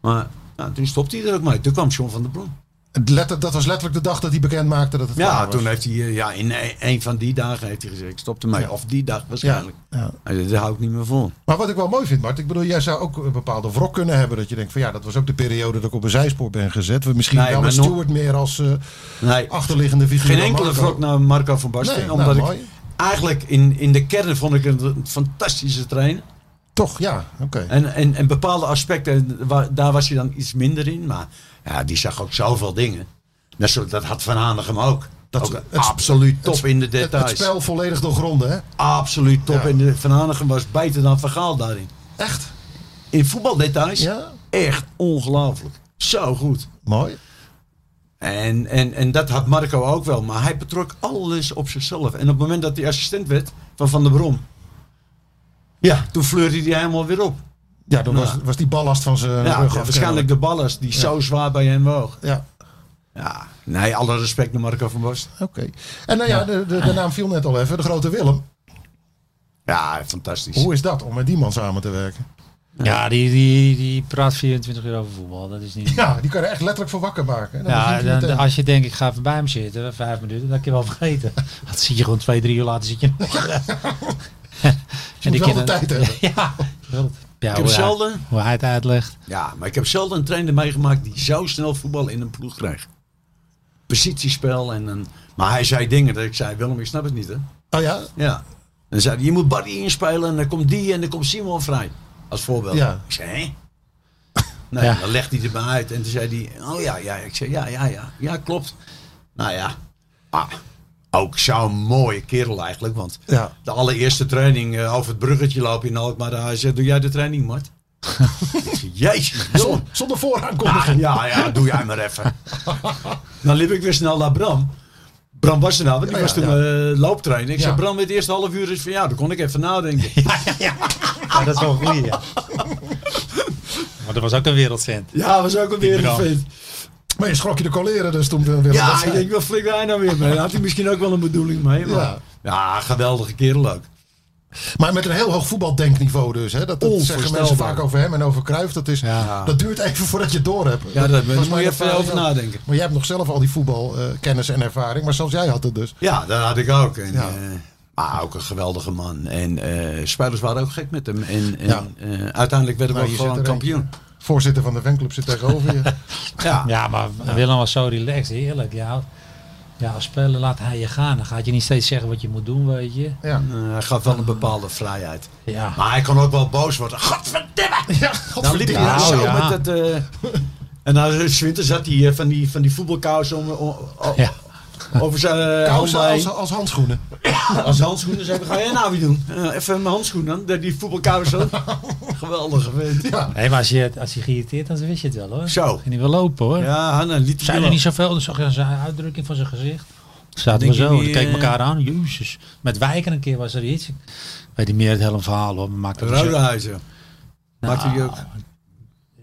Speaker 5: Maar nou, toen stopte hij er ook mee. Toen kwam John van der Brom.
Speaker 4: Het letter- dat was letterlijk de dag dat hij bekend maakte dat het klaar
Speaker 5: Ja,
Speaker 4: was.
Speaker 5: toen heeft hij, eh, ja, in e- een van die dagen heeft hij gezegd, ik stop ermee. Of die dag
Speaker 4: ja,
Speaker 5: waarschijnlijk.
Speaker 4: ja.
Speaker 5: Hij zei, Daar hou ik niet meer vol.
Speaker 4: Maar wat ik wel mooi vind, Mart, ik bedoel, jij zou ook een bepaalde wrok kunnen hebben. Dat je denkt van ja, dat was ook de periode dat ik op een zijspoor ben gezet. We Misschien
Speaker 5: Nee,
Speaker 4: wel
Speaker 5: maar
Speaker 4: met
Speaker 5: nog-
Speaker 4: Stewart meer als eh,
Speaker 5: Nee,
Speaker 4: achterliggende figuur.
Speaker 5: geen
Speaker 4: dan
Speaker 5: enkele
Speaker 4: Marco.
Speaker 5: wrok naar Marco van Basten.
Speaker 4: Nee,
Speaker 5: omdat
Speaker 4: nou,
Speaker 5: ik
Speaker 4: mooi.
Speaker 5: eigenlijk in, in de kern vond ik het een fantastische trainer.
Speaker 4: Toch, ja, oké.
Speaker 5: En, en, en bepaalde aspecten, waar, daar was hij dan iets minder in. Maar ja, die zag ook zoveel dingen. Net zo, dat had Van Hanegem ook.
Speaker 4: Dat-
Speaker 5: Ook
Speaker 4: het-
Speaker 5: absoluut top
Speaker 4: Het-
Speaker 5: in de
Speaker 4: het-
Speaker 5: details.
Speaker 4: Het, spel volledig doorgronden, hè?
Speaker 5: Absoluut top
Speaker 4: Ja.
Speaker 5: in de Van Hanegem was beter dan Van Gaal daarin.
Speaker 4: Echt?
Speaker 5: In voetbaldetails
Speaker 4: Ja?
Speaker 5: echt ongelooflijk. Zo goed.
Speaker 4: Mooi.
Speaker 5: En, en, en dat had Marco ook wel, maar hij betrok alles op zichzelf. En op het moment dat hij assistent werd van Van der Brom, ja, toen fleurde hij helemaal weer op.
Speaker 4: Ja, dan
Speaker 5: Nou.
Speaker 4: was, was die ballast van zijn
Speaker 5: Ja,
Speaker 4: rug af,
Speaker 5: waarschijnlijk de ballers die zo zwaar bij hem woog.
Speaker 4: Ja,
Speaker 5: Ja, nee, alle respect naar Marco van Basten.
Speaker 4: oké. En nou ja, de, de, de naam viel net al even. De grote Willem.
Speaker 5: Ja, fantastisch.
Speaker 4: Hoe is dat om met die man samen te werken?
Speaker 3: Ja, die, die, die praat 24 uur over voetbal. Dat is niet.
Speaker 4: Ja, die kan er echt letterlijk voor wakker maken. Dan
Speaker 3: Ja,
Speaker 4: begint hij
Speaker 3: dan-
Speaker 4: meteen.
Speaker 3: als je denkt ik ga even bij hem zitten, vijf minuten, dan kun je wel vergeten. Dat zie je gewoon twee, drie uur later zit je nog.
Speaker 4: moet wel de tijd hebben.
Speaker 3: Ja, wel- ja
Speaker 5: Ik heb
Speaker 3: hoe, hij,
Speaker 5: zelden,
Speaker 3: hoe hij het uitlegt.
Speaker 5: ja, maar ik heb zelden een trainer meegemaakt die zo snel voetbal in een ploeg krijgt. Positiespel en een... Maar hij zei dingen dat ik zei, Willem, ik snap het niet hè.
Speaker 4: Oh ja?
Speaker 5: Ja. Dan zei hij, je moet Barry inspelen en dan komt die en dan komt Simon vrij. Als voorbeeld.
Speaker 4: Ja.
Speaker 5: Ik zei, hè? Nee,
Speaker 3: Ja.
Speaker 5: dan legde hij erbij uit. En toen zei hij, oh ja, ja. Ik zei, ja, ja, ja. Ja, klopt. Nou ja. Ah, ook zo'n mooie kerel eigenlijk. Want
Speaker 4: Ja.
Speaker 5: de allereerste training eh, over het bruggetje lopen in Alkmaar. Hij zei, eh, doe jij de training, Mart? Ik zei, Jezus, Willem.
Speaker 4: Zonder
Speaker 5: Ah,
Speaker 4: vooraankondiging.
Speaker 5: ja, ja, doe jij maar even. Dan liep ik weer snel naar Bram. Bram was er nou, want die
Speaker 4: Ja,
Speaker 5: was toen
Speaker 4: ja.
Speaker 5: eh, looptrainer. Ik
Speaker 4: Ja.
Speaker 5: zei, Bram, het eerste half uur is van jou. Daar kon ik even nadenken.
Speaker 3: Ja, dat is wel goed, ja. Maar dat was ook een wereldcent.
Speaker 5: Ja, was ook een
Speaker 3: Ik Bram.
Speaker 5: wereldfeest.
Speaker 4: Maar je schrok je de coleren dus toen Willem dat
Speaker 5: Ja,
Speaker 4: zei.
Speaker 5: ik denk, wat flik hij nou weer mee? Daar had hij misschien ook wel een bedoeling mee. Maar...
Speaker 4: Ja.
Speaker 5: Ja. geweldige kerel ook.
Speaker 4: Maar met een heel hoog voetbaldenkniveau dus. Hè? Dat, dat zeggen mensen
Speaker 5: Onvoorstelbaar.
Speaker 4: vaak over hem en over Cruijff. Dat, is,
Speaker 5: Ja.
Speaker 4: dat duurt even voordat je het door hebt.
Speaker 5: Ja, dat- daar moet je even over
Speaker 4: nadenken.
Speaker 5: nadenken.
Speaker 4: Maar jij hebt nog zelf al die voetbalkennis en ervaring. Maar zelfs jij had het dus.
Speaker 5: Ja, dat had ik ook. En,
Speaker 4: Ja.
Speaker 5: eh, maar ook een geweldige man. En eh, spelers waren ook gek met hem. En, en
Speaker 4: Ja.
Speaker 5: eh, uiteindelijk werden we
Speaker 4: Nou,
Speaker 5: ook
Speaker 4: je zit
Speaker 5: gewoon
Speaker 4: er
Speaker 5: kampioen.
Speaker 4: Voorzitter van de fanclub zit tegenover je.
Speaker 5: Ja.
Speaker 3: Ja, maar Willem was zo relaxed, heerlijk. Ja, ja, als speler laat hij je gaan. Dan gaat je niet steeds zeggen wat je moet doen, weet je.
Speaker 4: Ja.
Speaker 5: Eh, hij gaf wel een bepaalde vrijheid.
Speaker 3: Ja.
Speaker 5: Maar hij kon ook wel boos worden. Godverdomme!
Speaker 4: Ja,
Speaker 5: Dan liep
Speaker 4: godverdikke.
Speaker 5: hij
Speaker 3: Nou,
Speaker 5: daar zo
Speaker 3: ja.
Speaker 5: met het... eh, en dan in winter zat hij eh, van die, van die voetbalkous om, o- o-
Speaker 3: Ja.
Speaker 5: over zijn eh,
Speaker 4: Kousen
Speaker 5: handen
Speaker 4: als,
Speaker 5: heen.
Speaker 4: als handschoenen.
Speaker 5: Als handschoenen. Zei, ik, wat ga jij nou weer doen? Eh, even mijn handschoenen aan. dat Die voetbalkous aan. Geweldige vent.
Speaker 4: Ja.
Speaker 3: Nee, maar als je, als je geïrriteerd was, dan wist je het wel hoor.
Speaker 5: Zo.
Speaker 3: En die wil lopen hoor.
Speaker 5: Ja, Hanna liet
Speaker 3: Zijn
Speaker 5: hij
Speaker 3: er
Speaker 5: wel.
Speaker 3: niet zoveel? Dan zag je zijn uitdrukking van zijn gezicht. Zaten we
Speaker 5: Denk je
Speaker 3: zo,
Speaker 5: niet,
Speaker 3: we keken
Speaker 5: eh,
Speaker 3: elkaar aan. Jezus. Met wijken een keer was er iets. Ik weet niet meer het hele verhaal hoor. Maar maakt het niet zo-
Speaker 5: Rodehuizen. Maakt hij die ook.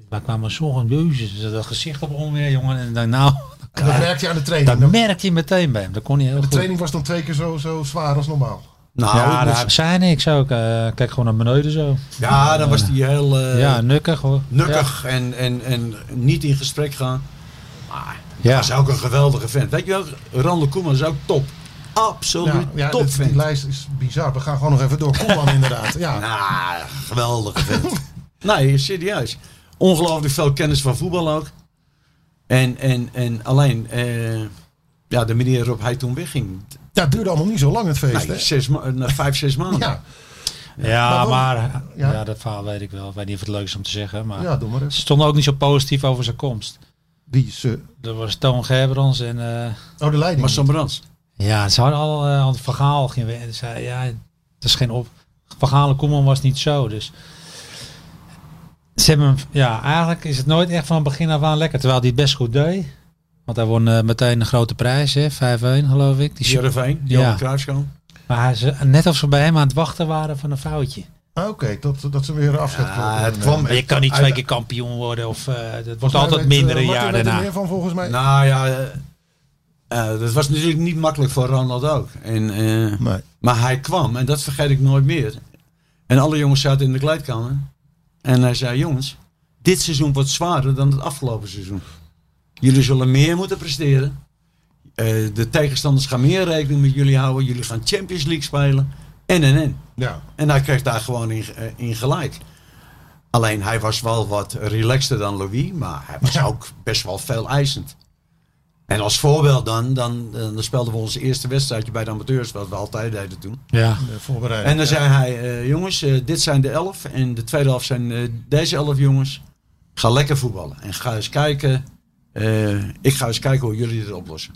Speaker 3: Maar kwamen zorgen, jezus, dat gezicht op onweer, jongen. En dan, nou,
Speaker 4: En dat merkte je aan de training.
Speaker 3: dat
Speaker 4: Dan-
Speaker 3: merkte hij meteen bij hem. Dat kon hij heel
Speaker 4: De
Speaker 3: goed.
Speaker 4: training was dan twee keer zo, zo zwaar als normaal.
Speaker 5: Nou,
Speaker 3: ja,
Speaker 5: dat-
Speaker 3: daar zijn niks ook. eh, kijk gewoon naar beneden zo.
Speaker 5: ja, dan was hij heel eh,
Speaker 3: ja, nukkig hoor.
Speaker 5: nukkig en, en, en niet in gesprek gaan.
Speaker 3: Ja.
Speaker 5: Dat is ook een geweldige vent. Weet je wel, Randall Koeman is ook top. Absoluut
Speaker 4: Nou, Ja, ja
Speaker 5: top
Speaker 4: dit- die
Speaker 5: vent.
Speaker 4: lijst is bizar. We gaan gewoon nog even door. Koeman inderdaad. Ja.
Speaker 5: Nou, geweldige vent. nee, serieus. Ongelooflijk veel kennis van voetbal ook. En, en, en alleen, eh, ja, de manier waarop hij toen wegging.
Speaker 4: ja, het duurde allemaal niet zo lang het feest.
Speaker 5: Nee,
Speaker 4: hè?
Speaker 5: zes ma- na vijf, zes maanden.
Speaker 4: Ja.
Speaker 3: Ja, ja, maar,
Speaker 4: Ja.
Speaker 3: ja. dat verhaal weet ik wel. Ik weet niet of het leuk is om te zeggen. Maar
Speaker 4: ja, doe maar eens.
Speaker 3: ze stonden ook niet zo positief over zijn komst.
Speaker 4: Die is, eh,
Speaker 3: Er was Toon Gerbrands en... eh,
Speaker 4: oh, de leiding.
Speaker 5: Maar Sam Brands.
Speaker 3: Ja, ze hadden al eh, aan het verhaal ging weer. En zei, ja, het is geen op. Verhalen Koeman was niet zo. Dus ze hebben hem, ja, eigenlijk is het nooit echt van begin af aan lekker. Terwijl hij het best goed deed. Want hij won eh, meteen een grote prijs, hè, 5-1 geloof ik. Die su-
Speaker 5: Jereveen,
Speaker 3: Ja.
Speaker 5: Johan Cruijffschoon.
Speaker 3: maar hij, ze, net alsof ze bij hem aan het wachten waren van een foutje.
Speaker 4: Ah, Oké, dat, dat ze weer afscheid
Speaker 5: Ja,
Speaker 4: konden
Speaker 5: het
Speaker 4: nemen.
Speaker 5: kwam
Speaker 3: Maar eh, je kan niet
Speaker 5: uit-
Speaker 3: twee keer kampioen worden of eh, het wordt
Speaker 4: Daar
Speaker 3: altijd
Speaker 4: weet, eh,
Speaker 3: minder een
Speaker 4: Martin
Speaker 3: jaar
Speaker 4: weet er
Speaker 3: daarna.
Speaker 4: meer van volgens mij.
Speaker 5: Nou ja, eh, eh, dat was natuurlijk niet makkelijk voor Ronald ook. En, eh,
Speaker 4: Nee.
Speaker 5: Maar hij kwam, en dat vergeet ik nooit meer. En alle jongens zaten in de kleedkamer. En hij zei, jongens, dit seizoen wat zwaarder dan het afgelopen seizoen. Jullie zullen meer moeten presteren. Eh, de tegenstanders gaan meer rekening met jullie houden. Jullie gaan Champions League spelen. En en en.
Speaker 4: Ja.
Speaker 5: En hij kreeg daar gewoon in, eh, in gelijk. Alleen hij was wel wat relaxter dan Louis, maar hij was ook best wel veel eisend. En als voorbeeld dan, dan, eh, dan, speelden we onze eerste wedstrijdje bij de amateurs, wat we altijd deden toen.
Speaker 3: Ja.
Speaker 4: De voorbereiding.
Speaker 5: En dan zei hij, eh, jongens, eh, dit zijn de elf en de tweede helft zijn eh, deze elf jongens. Ga lekker voetballen en ga eens kijken, eh, ik ga eens kijken hoe jullie dit oplossen.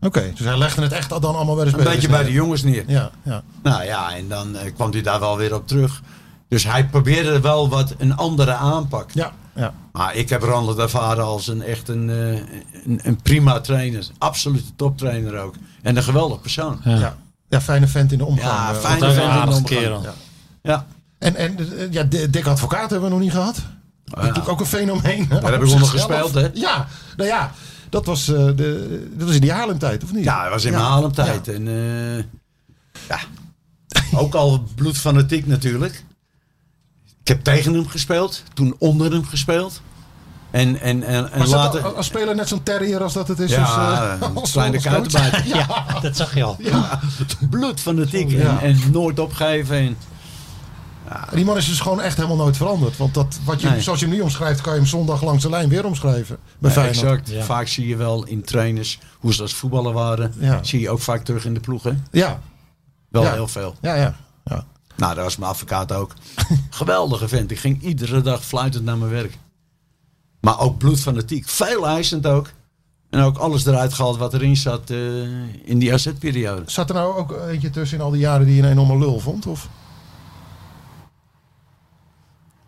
Speaker 4: Oké, dus hij legde het echt dan allemaal bij de
Speaker 5: Een
Speaker 4: spelers
Speaker 5: beetje bij de
Speaker 4: neer.
Speaker 5: jongens neer.
Speaker 4: Dus Ja, ja.
Speaker 5: Nou ja, en dan eh, kwam hij daar wel weer op terug. Dus hij probeerde wel wat een andere aanpak.
Speaker 4: Ja, ja.
Speaker 5: Maar ik heb Ronald ervaren als een echt een, eh, een, een prima trainer. Absolute toptrainer ook. En een geweldig persoon.
Speaker 3: Ja.
Speaker 4: Ja. ja, fijne vent in de omgang.
Speaker 5: Ja,
Speaker 4: eh,
Speaker 5: fijne
Speaker 4: want-
Speaker 3: Dat is een
Speaker 5: vent in de
Speaker 3: aardige
Speaker 5: omgang.
Speaker 3: kerel.
Speaker 4: Ja.
Speaker 5: Ja,
Speaker 4: En, en eh, ja, Dick Advocaat hebben we nog niet gehad.
Speaker 5: Ah, ja.
Speaker 4: Natuurlijk ook een fenomeen. Daar
Speaker 5: hebben we onder gespeeld, hè?
Speaker 4: Ja, nou ja. Dat was, eh, de, dat was in die Haarlem-tijd, of niet?
Speaker 5: ja hij was in mijn Haarlem-tijd. En eh, ja, ook al bloedfanatiek natuurlijk. Ik heb tegen hem gespeeld. Toen onder hem gespeeld. En, en, en, en
Speaker 4: Was dat
Speaker 5: later...
Speaker 4: al- als speler net zo'n terrier als dat het is?
Speaker 5: Ja,
Speaker 4: als, eh,
Speaker 5: een
Speaker 4: als-
Speaker 5: kleine
Speaker 4: als-
Speaker 5: kuitenbijter.
Speaker 4: Ja,
Speaker 3: Dat zag je al.
Speaker 5: bloedfanatiek
Speaker 4: Ja.
Speaker 5: en, en nooit opgeven. En,
Speaker 4: die man is dus gewoon echt helemaal nooit veranderd. Want dat, wat je,
Speaker 5: Nee.
Speaker 4: zoals je hem nu omschrijft, kan je hem zondag langs de lijn weer omschrijven. Bij
Speaker 5: Ja,
Speaker 4: Feyenoord.
Speaker 5: exact.
Speaker 3: Ja.
Speaker 5: Vaak zie je wel in trainers hoe ze als voetballer waren.
Speaker 4: Ja.
Speaker 5: Zie je ook vaak terug in de ploegen.
Speaker 4: Ja,
Speaker 5: Wel
Speaker 4: Ja.
Speaker 5: heel veel.
Speaker 4: ja, ja. ja.
Speaker 5: Nou, dat was mijn advocaat ook. Geweldige vent. Ik ging iedere dag fluitend naar mijn werk. Maar ook bloedfanatiek. Veel eisend ook. En ook alles eruit gehaald wat erin zat eh, in die AZ-periode.
Speaker 4: Zat er nou ook eentje tussen in al die jaren die je een enorme lul vond? Of?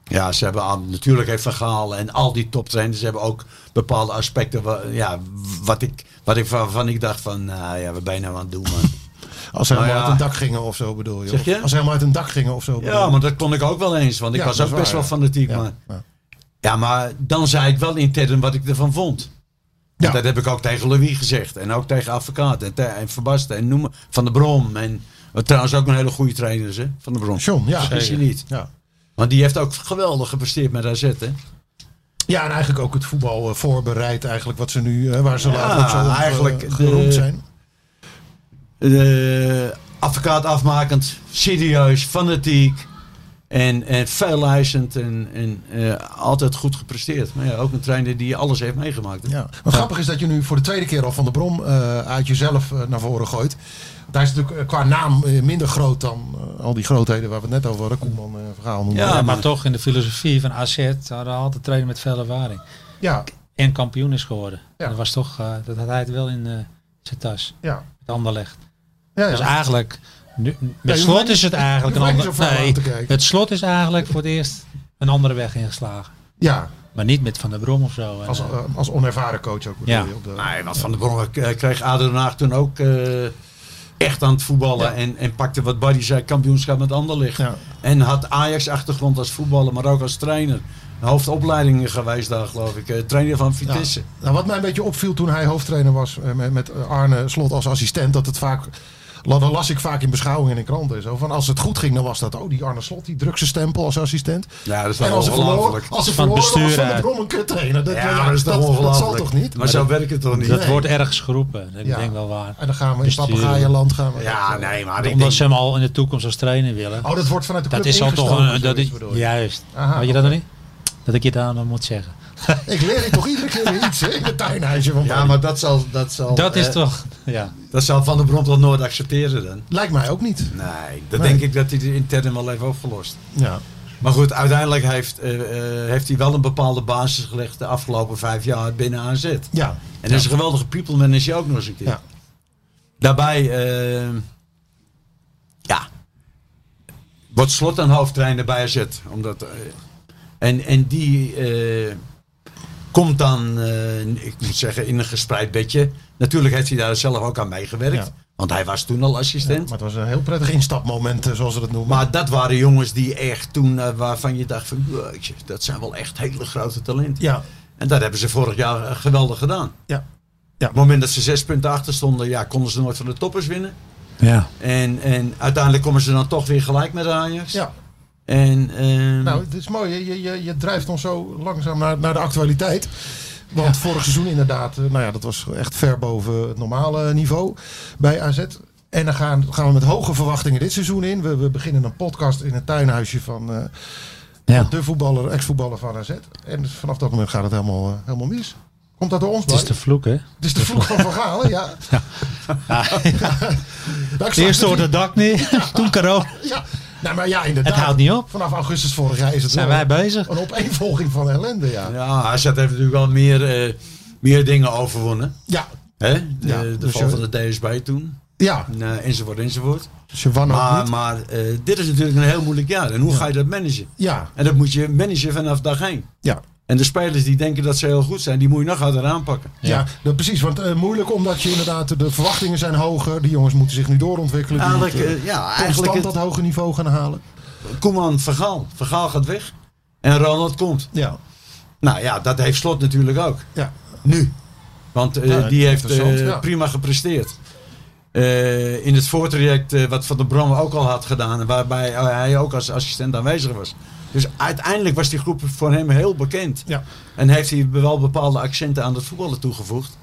Speaker 5: Ja, ze hebben aan, natuurlijk heeft Van Gaal en al die toptrainers hebben ook bepaalde aspecten wa- ja, wat ik, wat ik, waarvan ik dacht van, nou ja, wat ben je nou aan het doen man.
Speaker 4: Als ze
Speaker 5: Nou
Speaker 4: helemaal
Speaker 5: ja.
Speaker 4: uit een dak gingen of zo bedoel je?
Speaker 5: Zeg
Speaker 4: Of
Speaker 5: je?
Speaker 4: Als ze helemaal uit een dak gingen of zo bedoel
Speaker 5: Ja,
Speaker 4: je?
Speaker 5: maar dat kon ik ook wel eens, want ik
Speaker 4: Ja,
Speaker 5: was
Speaker 4: dat
Speaker 5: ook
Speaker 4: is
Speaker 5: best
Speaker 4: waar,
Speaker 5: wel
Speaker 4: ja.
Speaker 5: fanatiek.
Speaker 4: Ja,
Speaker 5: maar,
Speaker 4: ja.
Speaker 5: ja, maar dan zei ik wel intern wat ik ervan vond.
Speaker 4: Ja.
Speaker 5: Dat heb ik ook tegen Louis gezegd. En ook tegen Advocaat en, te- en Verbasten en noemen. Van de Brom. En eh, trouwens ook een hele goede trainer, hè? Van de Brom.
Speaker 4: John, ja.
Speaker 5: Vergis je
Speaker 4: Zeker.
Speaker 5: niet.
Speaker 4: Ja.
Speaker 5: Want die heeft ook geweldig gepresteerd met AZ, hè?
Speaker 4: ja, en eigenlijk ook het voetbal eh, voorbereid eigenlijk wat ze nu, eh, waar ze
Speaker 5: Ja,
Speaker 4: later op zo eh,
Speaker 5: eigenlijk de-
Speaker 4: geroemd zijn.
Speaker 5: Eh, advocaat afmakend, serieus, fanatiek. En, en veel eisend en, en eh, altijd goed gepresteerd. Maar ja, ook een trainer die alles heeft meegemaakt. hè?
Speaker 4: Ja. Wat grappig is dat je nu voor de tweede keer al Van de Brom eh, uit jezelf eh, naar voren gooit. Daar is natuurlijk eh, qua naam eh, minder groot dan eh, al die grootheden waar we het net over hadden. Koeman, eh verhaal noemen.
Speaker 5: Ja,
Speaker 3: Ja, maar
Speaker 5: maar-
Speaker 3: toch in de filosofie van AZ hadden we altijd trainen met veel ervaring.
Speaker 4: ja,
Speaker 3: En kampioen is geworden.
Speaker 4: Ja.
Speaker 3: Dat, was toch, eh, dat had hij het wel in eh, zijn tas.
Speaker 4: ja.
Speaker 3: Het anderlecht.
Speaker 4: ja,
Speaker 3: Dus
Speaker 4: ja.
Speaker 3: eigenlijk, nu,
Speaker 4: mij
Speaker 3: met slot
Speaker 4: niet-
Speaker 3: is het eigenlijk
Speaker 4: je
Speaker 3: een
Speaker 4: hoeft mij
Speaker 3: andere
Speaker 4: niet zo ver aan te kijken.
Speaker 3: het slot is eigenlijk voor het eerst een andere weg ingeslagen.
Speaker 4: ja
Speaker 3: Maar niet met Van der Brom of zo. En,
Speaker 4: als,
Speaker 3: eh,
Speaker 4: eh, als onervaren coach ook. bedoel
Speaker 3: Ja.
Speaker 4: je, op de-
Speaker 5: Nee, want Van der Brongen k- eh, kreeg ADO Den Haag toen ook eh, echt aan het voetballen.
Speaker 4: Ja.
Speaker 5: En, en pakte wat Barry zei, kampioenschap met Anderlicht.
Speaker 4: Ja.
Speaker 5: En had Ajax achtergrond als voetballer, maar ook als trainer. Hoofdopleidingen geweest daar geloof ik. Eh, trainer van
Speaker 4: Ja.
Speaker 5: Vitesse.
Speaker 4: Nou, wat mij een beetje opviel toen hij hoofdtrainer was eh, met, met Arne Slot als assistent, dat het vaak. Dat las ik vaak in beschouwingen en in kranten. en Zo. Van als het goed ging, dan was dat. Oh, die Arne Slot, die druk zijn stempel als assistent.
Speaker 5: Ja, dat is
Speaker 4: en
Speaker 5: wel
Speaker 4: als ze verloren,
Speaker 5: ongelooflijk.
Speaker 4: als ze
Speaker 3: Van het
Speaker 4: verloren
Speaker 3: bestuur
Speaker 4: was
Speaker 3: eh.
Speaker 4: van de
Speaker 3: uit.
Speaker 4: Brom een kuttrainer. Dat,
Speaker 5: Ja, dat is toch ongelooflijk.
Speaker 4: dat zal toch niet?
Speaker 5: Maar zo werkt het toch niet?
Speaker 3: dat
Speaker 4: Nee.
Speaker 3: wordt ergens geroepen. Dat
Speaker 4: Ja.
Speaker 3: Ik denk wel waar.
Speaker 4: En dan gaan we in
Speaker 3: Bestuur.
Speaker 4: papegaaienland gaan we.
Speaker 5: Ja, nou. nee, maar ik
Speaker 3: Omdat
Speaker 5: denk...
Speaker 3: ze hem al in de toekomst als trainer willen.
Speaker 4: Oh, dat wordt vanuit de club
Speaker 3: dat is al toch
Speaker 4: ingestoken,
Speaker 3: een... Dat is,
Speaker 4: zoiets bedoel je?
Speaker 3: juist.
Speaker 4: Aha,
Speaker 3: Weet je dat nog niet? Dat ik je daar nog moet zeggen.
Speaker 4: Ik leer hier toch iedere keer weer iets hè, in het tuinhuisje van
Speaker 5: Ja, maar dat zal, dat zal,
Speaker 3: Dat is
Speaker 5: eh,
Speaker 3: toch... Ja.
Speaker 5: dat zal Van der Brom toch nooit accepteren dan?
Speaker 4: Lijkt mij ook niet.
Speaker 5: Nee, dat
Speaker 4: Nee.
Speaker 5: denk ik dat hij de intern wel heeft opgelost.
Speaker 4: Ja.
Speaker 5: Maar goed, uiteindelijk heeft, eh, eh, heeft hij wel een bepaalde basis gelegd de afgelopen vijf jaar binnen AZ.
Speaker 4: Ja.
Speaker 5: En dat is een geweldige people manager ook nog eens een keer.
Speaker 4: Ja.
Speaker 5: Daarbij, eh, ja, wordt slot aan hoofdtrainer bij AZ. Omdat, eh, en, en die eh, komt dan, eh, ik moet zeggen, in een gespreid bedje. Natuurlijk heeft hij daar zelf ook aan meegewerkt.
Speaker 4: Ja.
Speaker 5: Want hij was toen al
Speaker 4: Ja,
Speaker 5: assistent.
Speaker 4: Maar het was een heel prettig instapmoment, eh, zoals ze dat noemen.
Speaker 5: Maar dat waren jongens die echt toen, eh, waarvan je dacht van, jeetje, dat zijn wel echt hele grote talenten.
Speaker 4: ja.
Speaker 5: En dat hebben ze vorig jaar eh, geweldig gedaan.
Speaker 4: Ja.
Speaker 5: Op het moment dat ze zes punten achter stonden, ja, konden ze nooit van de toppers winnen.
Speaker 3: Ja.
Speaker 5: En, en uiteindelijk komen ze dan toch weer gelijk met Ajax.
Speaker 4: Ja.
Speaker 5: En, ehm,
Speaker 4: Nou, het is mooi. Je, je- je, je drijft ons zo langzaam naar, naar de actualiteit. Want vorig seizoen inderdaad, eh, nou ja, dat was echt ver boven het normale niveau bij AZ. En dan gaan, gaan we met hoge verwachtingen dit seizoen in. We, we beginnen een podcast in het tuinhuisje van eh,
Speaker 3: Ja.
Speaker 4: de voetballer, ex-voetballer van AZ. En dus vanaf dat moment gaat het helemaal, eh, helemaal mis. Komt dat door ons?
Speaker 3: Het is te vloek, hè?
Speaker 4: het is de vloek van verhalen, ja. Nou, ik snap
Speaker 3: Eerst door
Speaker 4: het
Speaker 3: het dak neer, toen corona.
Speaker 4: niet. Ja. Nou, maar ja, inderdaad.
Speaker 3: Het houdt niet op.
Speaker 4: Vanaf augustus vorig jaar is het
Speaker 3: Zijn
Speaker 4: wel
Speaker 3: wij bezig?
Speaker 4: een opeenvolging van ellende, ja.
Speaker 5: ja, AZ heeft natuurlijk al meer, eh, meer dingen overwonnen.
Speaker 4: Ja,
Speaker 5: Hè? De,
Speaker 4: Ja,
Speaker 5: de
Speaker 4: dus
Speaker 5: val
Speaker 4: je-
Speaker 5: van de DSB toen.
Speaker 4: ja.
Speaker 5: En, eh, enzovoort, enzovoort.
Speaker 4: Dus je wan ook
Speaker 5: Maar,
Speaker 4: niet.
Speaker 5: maar eh, dit is natuurlijk een heel moeilijk jaar. En hoe ga je dat managen?
Speaker 4: Ja,
Speaker 5: En dat moet je managen vanaf dag één.
Speaker 4: ja.
Speaker 5: En de spelers die denken dat ze heel goed zijn, die moet je nog harder aanpakken.
Speaker 4: Ja, dat, precies. Want eh, moeilijk omdat je inderdaad de verwachtingen zijn hoger. Die jongens moeten zich nu doorontwikkelen. Die
Speaker 5: Eigenlijk,
Speaker 4: moeten
Speaker 5: eh, ja,
Speaker 4: constant
Speaker 5: eigenlijk
Speaker 4: dat hoge niveau gaan halen.
Speaker 5: het, Koeman, Vergaal. Vergaal gaat weg. En Ronald komt.
Speaker 4: Ja,
Speaker 5: Nou ja, dat heeft Slot natuurlijk ook.
Speaker 4: ja.
Speaker 5: Nu. Want eh,
Speaker 4: Ja,
Speaker 5: die heeft
Speaker 4: interessant,
Speaker 5: eh,
Speaker 4: ja.
Speaker 5: prima gepresteerd. Eh, in het voortraject eh, wat Van der Brom ook al had gedaan. en Waarbij eh, hij ook als assistent aanwezig was. Dus uiteindelijk was die groep voor hem heel bekend.
Speaker 4: Ja.
Speaker 5: En heeft hij wel bepaalde accenten aan het voetballen toegevoegd.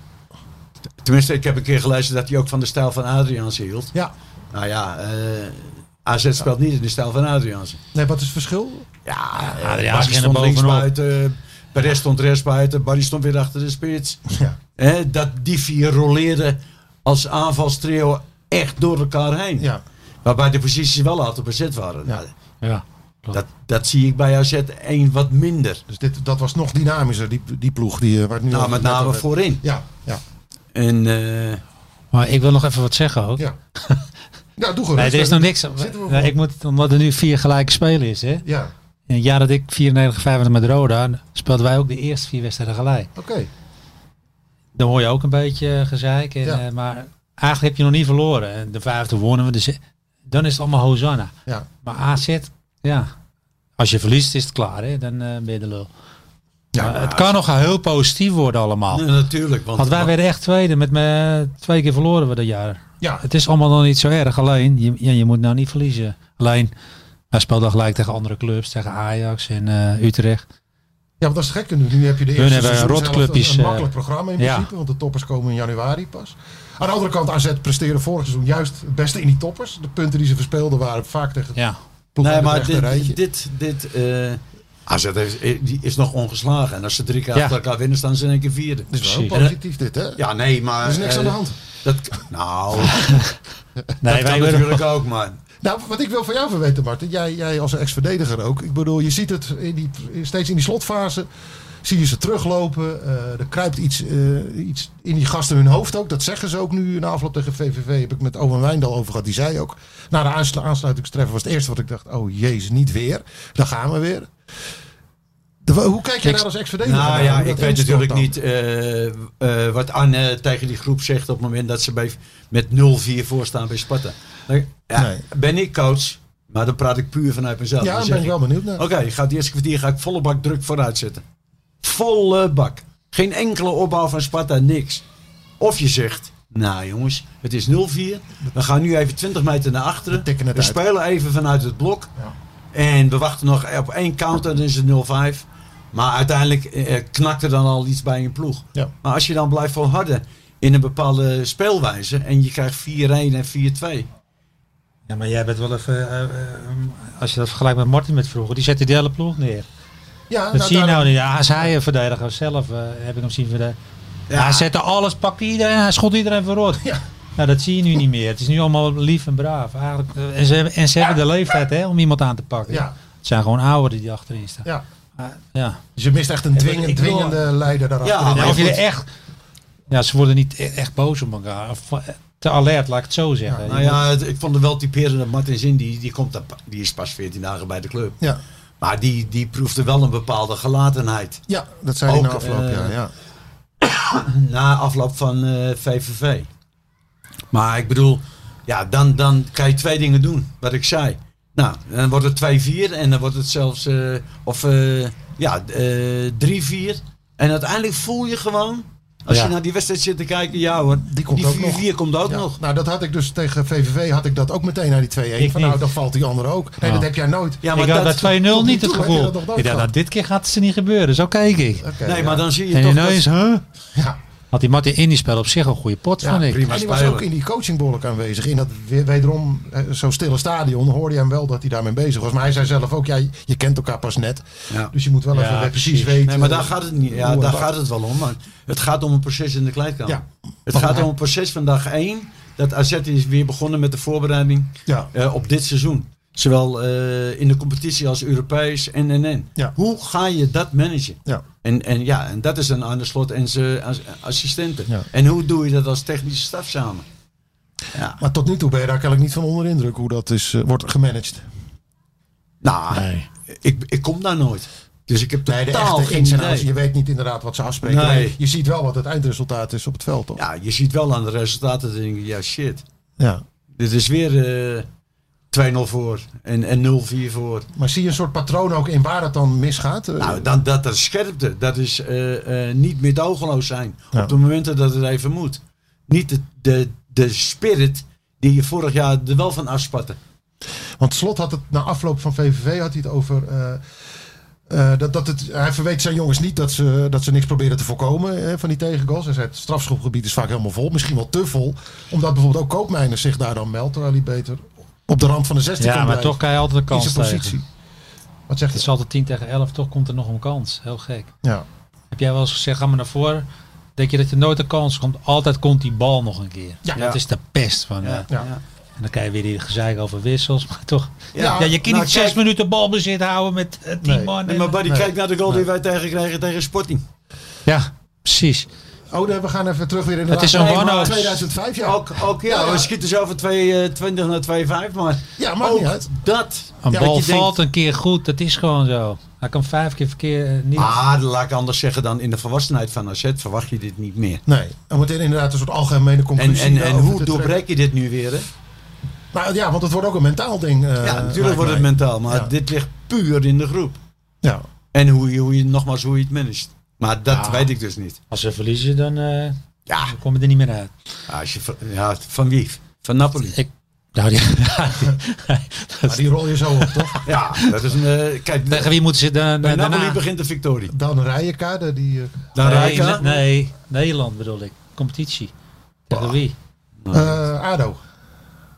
Speaker 5: Tenminste, ik heb een keer gelezen dat hij ook van de stijl van Adriaanse hield.
Speaker 4: ja.
Speaker 5: Nou ja, eh, AZ speelt niet in de stijl van Adriaanse.
Speaker 4: Nee, wat is het verschil?
Speaker 5: Ja, eh,
Speaker 3: Adriaanse
Speaker 5: Bassi
Speaker 3: ging er
Speaker 5: stond links
Speaker 3: bovenop.
Speaker 5: buiten. eh, Perez stond rechts buiten. Barry stond weer achter de spits.
Speaker 4: Ja,
Speaker 5: Hè, dat die vier rolleerden als aanvalstrio echt door elkaar heen.
Speaker 4: ja.
Speaker 5: Waarbij de posities wel altijd bezet waren.
Speaker 4: Ja.
Speaker 5: Nou,
Speaker 3: Ja.
Speaker 5: dat, dat zie ik bij AZ één wat minder.
Speaker 4: Dus dit, dat was nog dynamischer, die, die ploeg. Die, eh, waar het nu
Speaker 5: Nou,
Speaker 4: over
Speaker 5: met
Speaker 4: net
Speaker 5: name
Speaker 4: over-
Speaker 5: voorin.
Speaker 4: Ja, ja,
Speaker 5: En eh,
Speaker 3: Maar ik wil nog even wat zeggen ook.
Speaker 4: ja. ja, doe gewoon.
Speaker 3: Nee, er is nog niks.
Speaker 4: Zitten we
Speaker 3: Nee,
Speaker 4: voor?
Speaker 3: ik moet, omdat er nu vier gelijke spelen is, hè?
Speaker 4: Ja,
Speaker 3: In het jaar dat ik 94 95 met Roda speelden wij ook de eerste vier wedstrijden gelijk.
Speaker 4: oké.
Speaker 3: Dan hoor je ook een beetje gezeik. En,
Speaker 4: Ja.
Speaker 3: eh, maar eigenlijk heb je nog niet verloren. En De vijfde wonnen we. de ze- dan is het allemaal Hosanna.
Speaker 4: Ja.
Speaker 3: Maar AZ, ja. Als je verliest is het klaar, hè? Dan eh, ben je de lul.
Speaker 4: Ja,
Speaker 3: Maar het kan nog heel positief worden allemaal.
Speaker 5: nou, natuurlijk. Want,
Speaker 3: Want wij werden echt tweede. Met me, twee keer verloren we dat jaar.
Speaker 4: Ja,
Speaker 3: Het is allemaal nog niet zo erg. Alleen, je, ja, je moet nou niet verliezen. Alleen, wij speelden gelijk tegen andere clubs. Tegen Ajax en eh, Utrecht.
Speaker 4: ja, want dat is gek. Nu, nu heb je de
Speaker 3: Hun
Speaker 4: eerste
Speaker 3: hebben
Speaker 4: seizoen
Speaker 3: rotclubjes,
Speaker 4: zelf een, een
Speaker 3: eh,
Speaker 4: makkelijk programma in
Speaker 3: ja.
Speaker 4: principe. Want de toppers komen in januari pas. Aan de andere kant, AZ presteerde vorig seizoen juist het beste in die toppers. De punten die ze verspeelden waren vaak tegen
Speaker 3: Ja.
Speaker 4: ploegen uit
Speaker 5: nee, maar
Speaker 4: het rechte rijtje.
Speaker 5: dit, dit, dit eh, AZ heeft- eh, die is nog ongeslagen. En als ze drie keer
Speaker 3: Ja.
Speaker 5: achter elkaar winnen, staan ze in één keer vierde.
Speaker 4: Dit is wel
Speaker 3: Precies.
Speaker 4: positief dit, hè?
Speaker 5: Ja, nee, maar...
Speaker 4: Er is niks aan de
Speaker 5: eh,
Speaker 4: hand.
Speaker 5: Dat, nou,
Speaker 3: Nee,
Speaker 5: dat kan
Speaker 3: wij werden,
Speaker 5: natuurlijk ook, maar...
Speaker 4: Nou, wat ik wil van jou verweten, Martin. Jij, jij als ex-verdediger ook. Ik bedoel, je ziet het in die, steeds in die slotfase. Zie je ze teruglopen. eh, er kruipt iets, eh, iets in die gasten hun hoofd ook. Dat zeggen ze ook nu na afloop tegen VVV. Heb ik met Owen Wijndal over gehad. Die zei ook. Na de aanslu- aansluitingstreffer was het eerste wat ik dacht. Oh jezus, niet weer. Daar gaan we weer. De- hoe kijk jij
Speaker 3: Ik-
Speaker 4: daar als ex-verdediger
Speaker 5: Nou
Speaker 4: naar?
Speaker 5: ja,
Speaker 4: Hoe dat
Speaker 5: ik weet
Speaker 4: instort
Speaker 5: natuurlijk
Speaker 4: dan?
Speaker 5: niet eh, eh, wat Anne tegen die groep zegt op het moment dat ze bij, met 0-4 voorstaan bij Sparta. Ja,
Speaker 4: Nee.
Speaker 5: Ben ik coach, maar dan praat ik puur vanuit mezelf.
Speaker 4: Ja,
Speaker 5: Dan
Speaker 4: daar
Speaker 5: zeg
Speaker 4: ben ik wel benieuwd naar.
Speaker 5: Oké, ik Oh, ga het eerste kwartier ga ik volle bak druk vooruit zetten. Volle bak. Geen enkele opbouw van Sparta, niks. Of je zegt, nou jongens, het is 0-4. We gaan nu even 20 meter naar achteren.
Speaker 4: We tikken het
Speaker 5: We
Speaker 4: uit.
Speaker 5: spelen even vanuit het blok.
Speaker 4: Ja.
Speaker 5: En we wachten nog op één counter, dan is het 0-5. Maar uiteindelijk eh, knakt er dan al iets bij een ploeg.
Speaker 4: Ja.
Speaker 5: Maar als je dan blijft volharden in een bepaalde speelwijze en je krijgt 4-1 en 4-2.
Speaker 3: Ja, maar jij bent wel even. eh, eh, als je dat vergelijkt met Martin met vroeger, die zette die hele ploeg neer.
Speaker 4: Ja,
Speaker 3: Dat zie je
Speaker 4: daarom-
Speaker 3: nou niet. Ja, als hij een verdediger was zelf, eh, heb ik hem zien verdedigen.
Speaker 5: Ja.
Speaker 3: Hij zette alles, pakte iedereen, hij schot iedereen verrot.
Speaker 4: Ja.
Speaker 3: Nou, dat zie je nu niet meer. Het is nu allemaal lief en braaf. Eigenlijk, eh, en, ze, hebben- en ze hebben de leeftijd hè, om iemand aan te pakken.
Speaker 4: Ja,
Speaker 3: Het zijn gewoon ouderen die achterin staan.
Speaker 4: ja.
Speaker 3: Ja. Ja.
Speaker 4: Dus je mist echt een dwingende,
Speaker 3: ik wil-
Speaker 4: dwingende leider daarachter.
Speaker 5: Ja, maar
Speaker 3: of je
Speaker 5: goed.
Speaker 3: er echt. Ja, ze worden niet e- echt boos op elkaar. Of, eh, te alert, laat ik het zo zeggen.
Speaker 5: Nou ja, het- ik vond het wel typerend dat Martin Zin, die, die, komt dan pa- die is pas 14 dagen bij de club.
Speaker 4: ja.
Speaker 5: Maar die, die proefde wel een bepaalde gelatenheid
Speaker 4: Ja, dat zei hij
Speaker 5: Ook,
Speaker 4: na afloop.
Speaker 5: eh,
Speaker 4: ja, ja.
Speaker 5: na afloop van eh, VVV. Maar ik bedoel, ja, dan, dan kan je twee dingen doen, wat ik zei. Nou, dan wordt het 2-4 en dan wordt het zelfs, eh, of eh, ja, eh, 3-4. En uiteindelijk voel je gewoon, Als
Speaker 3: Ja.
Speaker 5: je naar die wedstrijd zit te kijken, ja hoor.
Speaker 4: Die komt
Speaker 5: die
Speaker 4: ook nog.
Speaker 5: 4-4 komt ook
Speaker 4: Ja,
Speaker 5: nog.
Speaker 4: Nou, dat had ik dus tegen VVV had ik dat ook meteen naar die 2-1.
Speaker 3: Ik
Speaker 4: Van nou,
Speaker 3: niet.
Speaker 4: dan valt die andere ook. Nee,
Speaker 3: Ja.
Speaker 4: dat heb jij nooit.
Speaker 5: Ja,
Speaker 3: ik had bij 2-0
Speaker 4: tot nu
Speaker 3: niet het
Speaker 4: toe heb je
Speaker 3: gevoel.
Speaker 4: dat nog nooit
Speaker 3: ik dacht, nou,
Speaker 4: gehad.
Speaker 3: dit keer gaat het ze niet gebeuren. Zo keek ik.
Speaker 4: Oké,
Speaker 5: Nee,
Speaker 4: ja.
Speaker 5: maar dan zie je
Speaker 3: En
Speaker 5: toch dat
Speaker 3: ineens, huh?
Speaker 4: Ja,
Speaker 3: Had die Martin Indy spel op zich een goede pot,
Speaker 4: ja
Speaker 3: vond ik.
Speaker 4: prima. En die was
Speaker 5: speler.
Speaker 4: ook in die coachingbolk aanwezig. In dat we- wederom eh, zo stille stadion hoorde je hem wel dat hij daarmee bezig was. Maar hij zei zelf ook, ja, je- je kent elkaar pas net.
Speaker 5: Ja.
Speaker 4: Dus je moet wel
Speaker 3: Ja,
Speaker 4: even precies
Speaker 3: precies.
Speaker 4: weten.
Speaker 5: Nee, maar daar gaat het niet. Ja,
Speaker 4: eh, Hoe
Speaker 5: daar
Speaker 4: en wat.
Speaker 5: gaat het wel om. Maar het gaat om een proces in de kleedkamer.
Speaker 4: Ja.
Speaker 5: Het
Speaker 4: Want
Speaker 5: gaat
Speaker 4: hij-
Speaker 5: om een proces van dag 1. Dat AZ is weer begonnen met de voorbereiding
Speaker 4: Ja.
Speaker 5: eh, op dit seizoen. Zowel eh, in de competitie als Europees en en en.
Speaker 4: Ja.
Speaker 5: Hoe ga je dat managen?
Speaker 4: Ja.
Speaker 5: En, en ja, en dat is dan aan de slot en zijn as- assistenten.
Speaker 4: Ja.
Speaker 5: En hoe doe je dat als technische staf samen? Ja.
Speaker 4: Maar tot nu toe ben je daar kennelijk niet van onder indruk hoe dat is, eh, wordt gemanaged.
Speaker 5: Nou, ik, ik kom daar nooit. Dus ik heb
Speaker 4: Nee, de
Speaker 5: totaal
Speaker 4: echte
Speaker 5: geen
Speaker 4: ins en outs.
Speaker 5: idee.
Speaker 4: Je weet niet inderdaad wat ze afspreken.
Speaker 5: Nee.
Speaker 4: Maar Je ziet wel wat het eindresultaat is op het veld, toch?
Speaker 5: Ja, je ziet wel aan de resultaten denk je, ja shit.
Speaker 4: ja.
Speaker 5: Dit is weer eh 2-0 voor en, en 0-4 voor.
Speaker 4: Maar zie je een soort patroon ook in waar het dan misgaat? Eh,
Speaker 5: Nou, dan, dat is scherpte. Dat is eh, eh, niet meedogenloos zijn
Speaker 4: Ja.
Speaker 5: op de momenten dat het even moet. Niet de, de, de spirit die je vorig jaar er wel van afspatte.
Speaker 4: Want Slot had het na afloop van VVV had hij het over. eh, eh, dat, dat het, hij verweet zijn jongens niet dat ze, dat ze niks proberen te voorkomen eh, van die tegengoals. Hij zei het strafschopgebied is vaak helemaal vol. Misschien wel te vol. Omdat bijvoorbeeld ook Koopmeiners zich daar dan meldt. Terwijl hij beter op de rand van de 16
Speaker 3: Ja,
Speaker 4: kan
Speaker 3: maar
Speaker 4: blijven,
Speaker 3: toch kan je altijd een
Speaker 4: in
Speaker 3: kans
Speaker 4: zijn
Speaker 3: tegen.
Speaker 4: positie. Wat zegt
Speaker 3: Het
Speaker 4: hij?
Speaker 3: is altijd 10 tegen 11, toch komt er nog een kans. Heel gek.
Speaker 4: Ja.
Speaker 3: Heb jij wel eens gezegd, ga maar naar voren. Denk je dat je nooit een kans komt? Altijd komt die bal nog een keer.
Speaker 4: Ja.
Speaker 3: Dat is de pest van. eh,
Speaker 4: Ja.
Speaker 3: en dan krijg je weer die gezeik over wissels. Maar toch, ja,
Speaker 5: Ja,
Speaker 3: je kunt
Speaker 5: nou,
Speaker 3: niet zes
Speaker 5: kijk-
Speaker 3: minuten balbezit houden met eh, tien
Speaker 4: Nee.
Speaker 3: man.
Speaker 5: En
Speaker 3: en-
Speaker 5: maar Buddy,
Speaker 4: Nee.
Speaker 5: kijk naar de goal die wij tegenkrijgen tegen Sporting.
Speaker 3: ja, precies.
Speaker 4: Oh, nee, we gaan even terug weer in de
Speaker 3: Het is een
Speaker 4: laatste-
Speaker 3: one-out.
Speaker 4: 2005, ja.
Speaker 5: Ook, ook ja,
Speaker 4: Ja, ja.
Speaker 5: we schieten zo van 20 naar 2,5, maar
Speaker 4: Ja, maakt
Speaker 5: ook
Speaker 4: niet uit.
Speaker 5: dat.
Speaker 3: Een
Speaker 4: Ja,
Speaker 3: bal
Speaker 5: dat je
Speaker 3: valt een keer goed, dat is gewoon zo. Hij kan vijf keer verkeer eh, niet.
Speaker 5: Ah, dat laat ik anders zeggen dan in de volwassenheid van AZ verwacht je dit niet meer.
Speaker 4: Nee, er moet inderdaad een soort algemene
Speaker 5: En,
Speaker 4: conclusie
Speaker 5: en, en
Speaker 4: daarover
Speaker 5: hoe
Speaker 4: nou, te trekken.
Speaker 5: doorbreek je dit nu weer? Hè?
Speaker 4: Nou ja, want het wordt ook een mentaal ding. eh,
Speaker 5: ja, natuurlijk
Speaker 4: lijkt
Speaker 5: wordt het
Speaker 4: mij.
Speaker 5: mentaal, maar
Speaker 4: Ja.
Speaker 5: dit ligt puur in de groep.
Speaker 4: Ja.
Speaker 5: En hoe je, hoe je nogmaals hoe je het managt. Maar dat weet ik dus niet.
Speaker 3: Als ze verliezen, dan, eh
Speaker 5: Ja,
Speaker 3: dan kom je er niet meer uit.
Speaker 5: als je, van- ja van wie? Van Napoli.
Speaker 3: Ik, nou, die,
Speaker 4: Maar die rol je zo op, toch?
Speaker 5: Ja, dat is een. eh, kijk,
Speaker 3: tegen wie moeten ze dan
Speaker 5: bij
Speaker 3: eh, daarna?
Speaker 5: Napoli begint de victorie.
Speaker 4: Dan Rijenkade, die... eh,
Speaker 5: Daar
Speaker 3: nee,
Speaker 5: raken.
Speaker 3: ne- nee, Nederland bedoel ik. Competitie. Tegen wie?
Speaker 4: eh, ADO.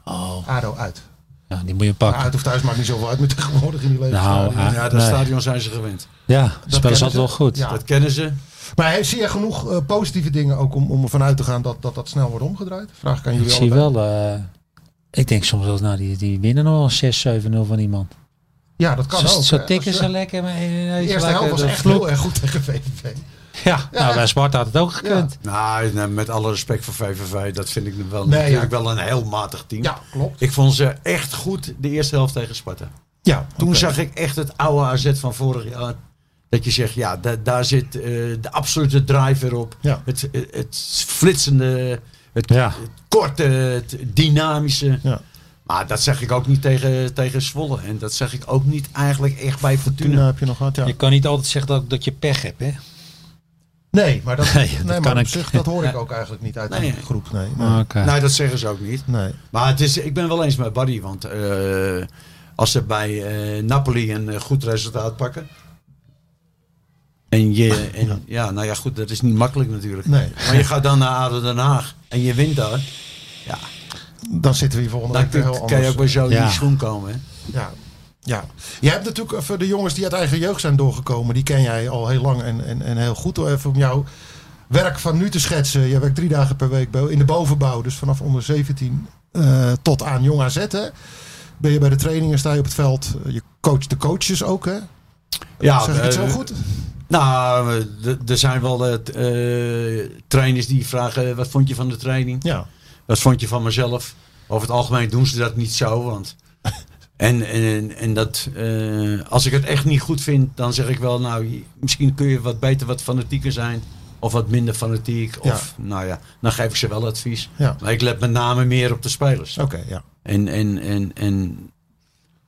Speaker 3: Oh,
Speaker 4: ADO uit.
Speaker 3: ja, Nou, die moet je
Speaker 4: Maar
Speaker 3: pakken.
Speaker 4: uit of thuis maakt niet zoveel uit met tegenwoordig in die leven.
Speaker 3: Nou, ah,
Speaker 5: Ja, dat
Speaker 3: nee.
Speaker 5: stadion zijn ze gewend.
Speaker 3: ja, de spelers
Speaker 4: kennen
Speaker 3: altijd wel
Speaker 4: ze.
Speaker 3: goed.
Speaker 4: Ja.
Speaker 5: Dat kennen ze.
Speaker 4: Maar hey, zie je genoeg eh, positieve dingen ook om, om ervan uit te gaan dat dat, dat snel wordt omgedraaid? Vraag ik aan
Speaker 3: Ik
Speaker 4: jullie
Speaker 3: zie
Speaker 4: allebei.
Speaker 3: wel, eh, ik denk soms wel, eens, nou, die, die winnen nog wel 6-7-0 van iemand.
Speaker 4: Ja, dat kan
Speaker 3: Zo,
Speaker 4: ook.
Speaker 3: zo
Speaker 4: hè.
Speaker 3: tikken
Speaker 4: Als
Speaker 3: ze
Speaker 4: je-
Speaker 3: lekker. Maar
Speaker 4: De eerste helft was echt heel erg goed tegen VVV.
Speaker 3: Ja, nou, bij Sparta had het ook gekund.
Speaker 5: Nou, nee, met alle respect voor VVV, dat vind ik wel,
Speaker 4: Nee,
Speaker 5: natuurlijk
Speaker 4: ja.
Speaker 5: wel een heel matig team.
Speaker 4: Ja, klopt.
Speaker 5: Ik vond ze echt goed de eerste helft tegen Sparta.
Speaker 4: Ja,
Speaker 5: Toen
Speaker 4: oké.
Speaker 5: zag ik echt het oude AZ van vorig jaar. Dat je zegt, ja, da- daar zit eh, de absolute driver op.
Speaker 4: Ja.
Speaker 5: Het, het, het flitsende, het,
Speaker 3: Ja.
Speaker 5: het korte, het dynamische.
Speaker 4: Ja.
Speaker 5: Maar dat zeg ik ook niet tegen, tegen Zwolle. En dat zeg ik ook niet eigenlijk echt bij
Speaker 4: Tuna
Speaker 5: Fortuna.
Speaker 4: Nou, heb je nog gehad, ja.
Speaker 3: Je kan niet altijd zeggen dat, dat je pech hebt, hè?
Speaker 4: Nee, maar, dat,
Speaker 3: Nee,
Speaker 4: nee,
Speaker 3: dat
Speaker 4: maar
Speaker 3: kan
Speaker 4: op
Speaker 3: ik. Ah,
Speaker 4: zich, dat hoor ik ook eigenlijk niet uit
Speaker 5: Nee.
Speaker 4: die groep. Nee, nee.
Speaker 3: Oké.
Speaker 5: Nee, dat zeggen ze ook niet.
Speaker 4: nee.
Speaker 5: Maar het is, ik ben wel eens met Barry, want eh, als ze bij eh, Napoli een eh, goed resultaat pakken. En je, en, ja. nou ja, goed, dat is niet makkelijk natuurlijk.
Speaker 4: Nee.
Speaker 5: Maar je gaat dan naar ADO Den Haag en je wint daar. Ja,
Speaker 4: Dan zitten we hier volgende
Speaker 5: dan
Speaker 4: week weer
Speaker 5: kun,
Speaker 4: heel
Speaker 5: kan je
Speaker 4: anders.
Speaker 5: ook bij zo in
Speaker 3: Ja.
Speaker 5: die schoen komen. Hè?
Speaker 4: Ja. ja. Jij hebt natuurlijk even de jongens die uit eigen jeugd zijn doorgekomen. Die ken jij al heel lang en, en, en heel goed. Even om jouw werk van nu te schetsen. Jij werkt drie dagen per week bij- in de bovenbouw. Dus vanaf onder 17 eh, tot aan jong AZ. Hè? Ben je bij de trainingen, sta je op het veld. Je coacht de coaches ook. Hè?
Speaker 5: Ja,
Speaker 4: zeg ik het
Speaker 5: eh,
Speaker 4: zo goed?
Speaker 5: Nou, eh, d- er zijn wel eh, t- eh, trainers die vragen, eh, wat vond je van de training?
Speaker 4: Ja.
Speaker 5: Dat vond je van mezelf. Over het algemeen doen ze dat niet zo. Want en, en, en dat, eh, als ik het echt niet goed vind, dan zeg ik wel, nou, je- misschien kun je wat beter wat fanatieker zijn. Of wat minder fanatiek. Of nou ja, dan geef ik ze wel advies.
Speaker 4: Ja.
Speaker 5: Maar ik let met name meer op de spelers.
Speaker 4: Oké, ja.
Speaker 5: En, en, en, en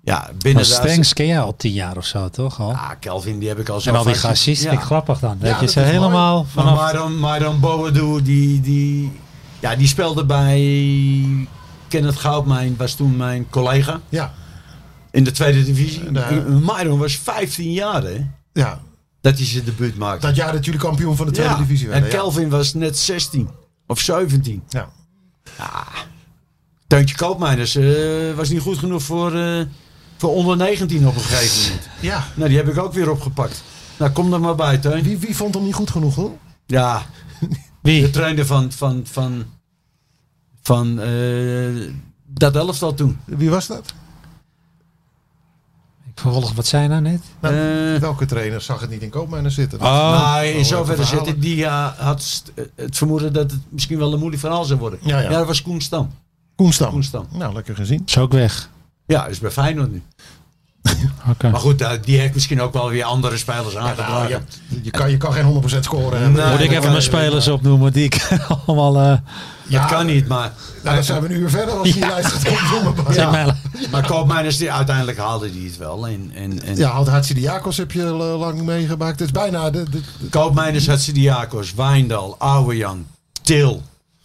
Speaker 5: Ja,
Speaker 3: Maar
Speaker 5: binnen de...
Speaker 3: Stengs ken jij al tien jaar of zo, toch? Al?
Speaker 5: Ah, Kelvin, die heb ik al zo
Speaker 3: en al die
Speaker 5: vaak-
Speaker 3: gastjes,
Speaker 5: Ja.
Speaker 3: vind ik grappig dan.
Speaker 4: Ja,
Speaker 3: dat je
Speaker 4: dat
Speaker 3: ze
Speaker 4: is mooi.
Speaker 3: helemaal
Speaker 5: Maar
Speaker 3: vanaf...
Speaker 5: Myron, Myron Boadu, die, die, ja, die speelde bij Kenneth Goudmijn, was toen mijn collega
Speaker 4: Ja,
Speaker 5: in de tweede divisie.
Speaker 4: Ja.
Speaker 5: Myron was 15 jaar hè,
Speaker 4: ja,
Speaker 5: dat hij zijn debuut maakte.
Speaker 4: dat jaar dat jullie kampioen van de tweede
Speaker 5: Ja,
Speaker 4: divisie werden.
Speaker 5: En
Speaker 4: ja.
Speaker 5: Kelvin was net 16 of 17.
Speaker 4: Ja.
Speaker 5: Teuntje Koopmeiners eh, was niet goed genoeg voor, eh, voor onder 19 op een gegeven moment.
Speaker 4: ja.
Speaker 5: Nou, die heb ik ook weer opgepakt. Nou, kom er maar bij, Teun.
Speaker 4: Wie, wie vond hem niet goed genoeg hoor?
Speaker 5: Ja, de
Speaker 3: Wie?
Speaker 5: trainer van, van, van, van eh, dat elftal toen.
Speaker 4: Wie was dat?
Speaker 3: Ik vervolg, wat zijn nou net?
Speaker 4: Nou,
Speaker 5: Eh,
Speaker 4: Welke trainer zag het niet in Koopmijnen zitten? Nou,
Speaker 5: maar in
Speaker 4: Oh. even
Speaker 5: zoverre
Speaker 4: verhalen.
Speaker 5: zitten, die eh, had st- eh, het vermoeden dat het misschien wel een moeilijk verhaal zou worden.
Speaker 4: Ja, ja.
Speaker 5: dat was Koen Stam.
Speaker 4: Koenstam.
Speaker 5: Koen Stam.
Speaker 4: Nou, lekker gezien.
Speaker 3: Is ook weg.
Speaker 5: Ja, is bij Feyenoord nu.
Speaker 3: Oké.
Speaker 5: Maar goed, eh, die heeft misschien ook wel weer andere spelers
Speaker 4: nou,
Speaker 5: aangedragen.
Speaker 4: je, je kan, je kan geen 100% scoren hebben.
Speaker 3: Moet ik
Speaker 5: Nee. dat
Speaker 3: even
Speaker 5: kan
Speaker 3: mijn
Speaker 5: je wel,
Speaker 3: spelers opnoemen die ik allemaal... eh
Speaker 4: Ja,
Speaker 5: Dat kan niet, maar,
Speaker 4: Nou, dan zijn we een uur verder als je die lijst gaat opnoemen. maar-
Speaker 3: in
Speaker 4: Ja,
Speaker 3: mijn-
Speaker 5: maar Koopmeiners, die, uiteindelijk haalde die het wel. En, en, en
Speaker 4: ja had Hatsi Diakos heb je eh, lang meegemaakt. Het is bijna de... de- de-
Speaker 5: Koopmeiners had Sidiakos, Wijndal, Ouwejan, Til,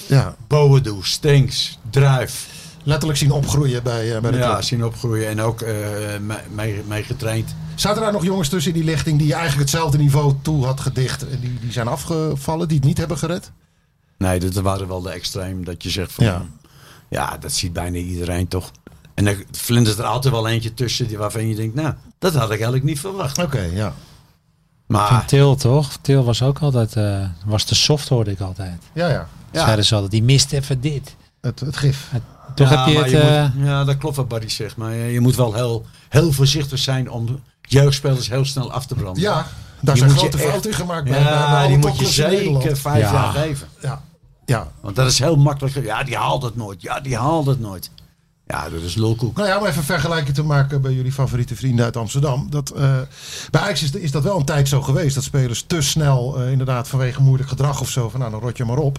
Speaker 4: ja,
Speaker 5: Boedoe, Stenks, Druif.
Speaker 4: letterlijk zien opgroeien bij, eh, bij de
Speaker 5: Ja,
Speaker 4: club.
Speaker 5: zien opgroeien en ook eh, mee, mee, mee getraind.
Speaker 4: Zaten daar nog jongens tussen in die lichting die je eigenlijk hetzelfde niveau toe had gedicht? En die, die zijn afgevallen, die het niet hebben gered?
Speaker 5: Nee, dat waren wel de extreem dat je zegt van...
Speaker 4: Ja.
Speaker 5: Ja, dat ziet bijna iedereen toch. En dan flintert er altijd wel eentje tussen die- waarvan je denkt... Nou, dat had ik eigenlijk niet verwacht.
Speaker 4: Oké, ja.
Speaker 3: Van
Speaker 4: Ah.
Speaker 5: Maar
Speaker 3: Til, toch? Til was ook altijd... eh, was te soft, hoorde ik altijd.
Speaker 4: Ja, ja.
Speaker 5: Ja.
Speaker 3: Zeiden ze altijd, die mist even dit.
Speaker 4: Het, het gif.
Speaker 3: Toch
Speaker 5: ja,
Speaker 3: heb je
Speaker 5: maar
Speaker 3: het...
Speaker 5: moet-
Speaker 3: eh,
Speaker 5: ja, dat klopt wat Barry zegt. Maar eh, je moet wel heel, heel voorzichtig zijn om jeugdspelers heel snel af te branden.
Speaker 4: Ja, daar
Speaker 5: Die
Speaker 4: zijn
Speaker 5: moet
Speaker 4: grote
Speaker 5: je echt-
Speaker 4: fouten in gemaakt. bij- bij- bij
Speaker 5: Ja,
Speaker 4: alle
Speaker 5: die moet je
Speaker 4: topclubs in
Speaker 5: zeker
Speaker 4: Nederland.
Speaker 5: vijf
Speaker 3: Ja.
Speaker 5: jaar geven.
Speaker 4: Ja, ja.
Speaker 5: Want dat is heel makkelijk. Ja, die haalt het nooit. Ja, die haalt het nooit. Ja, dat is lulkoek.
Speaker 4: Nou ja, om even een vergelijking te maken bij jullie favoriete vrienden uit Amsterdam. Dat, eh, bij Ajax is, is dat wel een tijd zo geweest. Dat spelers te snel, eh, inderdaad vanwege moeilijk gedrag of zo, van nou dan rot je maar op.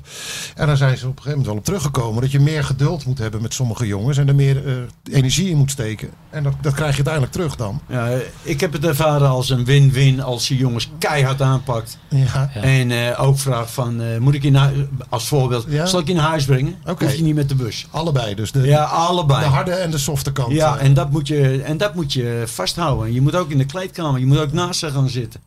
Speaker 4: En daar zijn ze op een gegeven moment wel op teruggekomen. Dat je meer geduld moet hebben met sommige jongens. En er meer eh, energie in moet steken. En dat, dat krijg je uiteindelijk terug dan.
Speaker 5: Ja, ik heb het ervaren als een win-win als je jongens keihard aanpakt.
Speaker 4: Ja.
Speaker 3: Ja.
Speaker 5: En eh, ook vraagt van, eh, moet ik je naar, als voorbeeld,
Speaker 4: Ja.
Speaker 5: zal ik je naar huis brengen?
Speaker 4: Oké.
Speaker 5: Hoef je niet met de bus.
Speaker 4: Allebei dus. De,
Speaker 5: Ja,
Speaker 4: de
Speaker 5: allebei.
Speaker 4: harde en de softe kant.
Speaker 5: ja,
Speaker 4: eh.
Speaker 5: en dat, moet je, en dat moet je vasthouden. Je moet ook in de kleedkamer, je moet ook naast ze gaan zitten.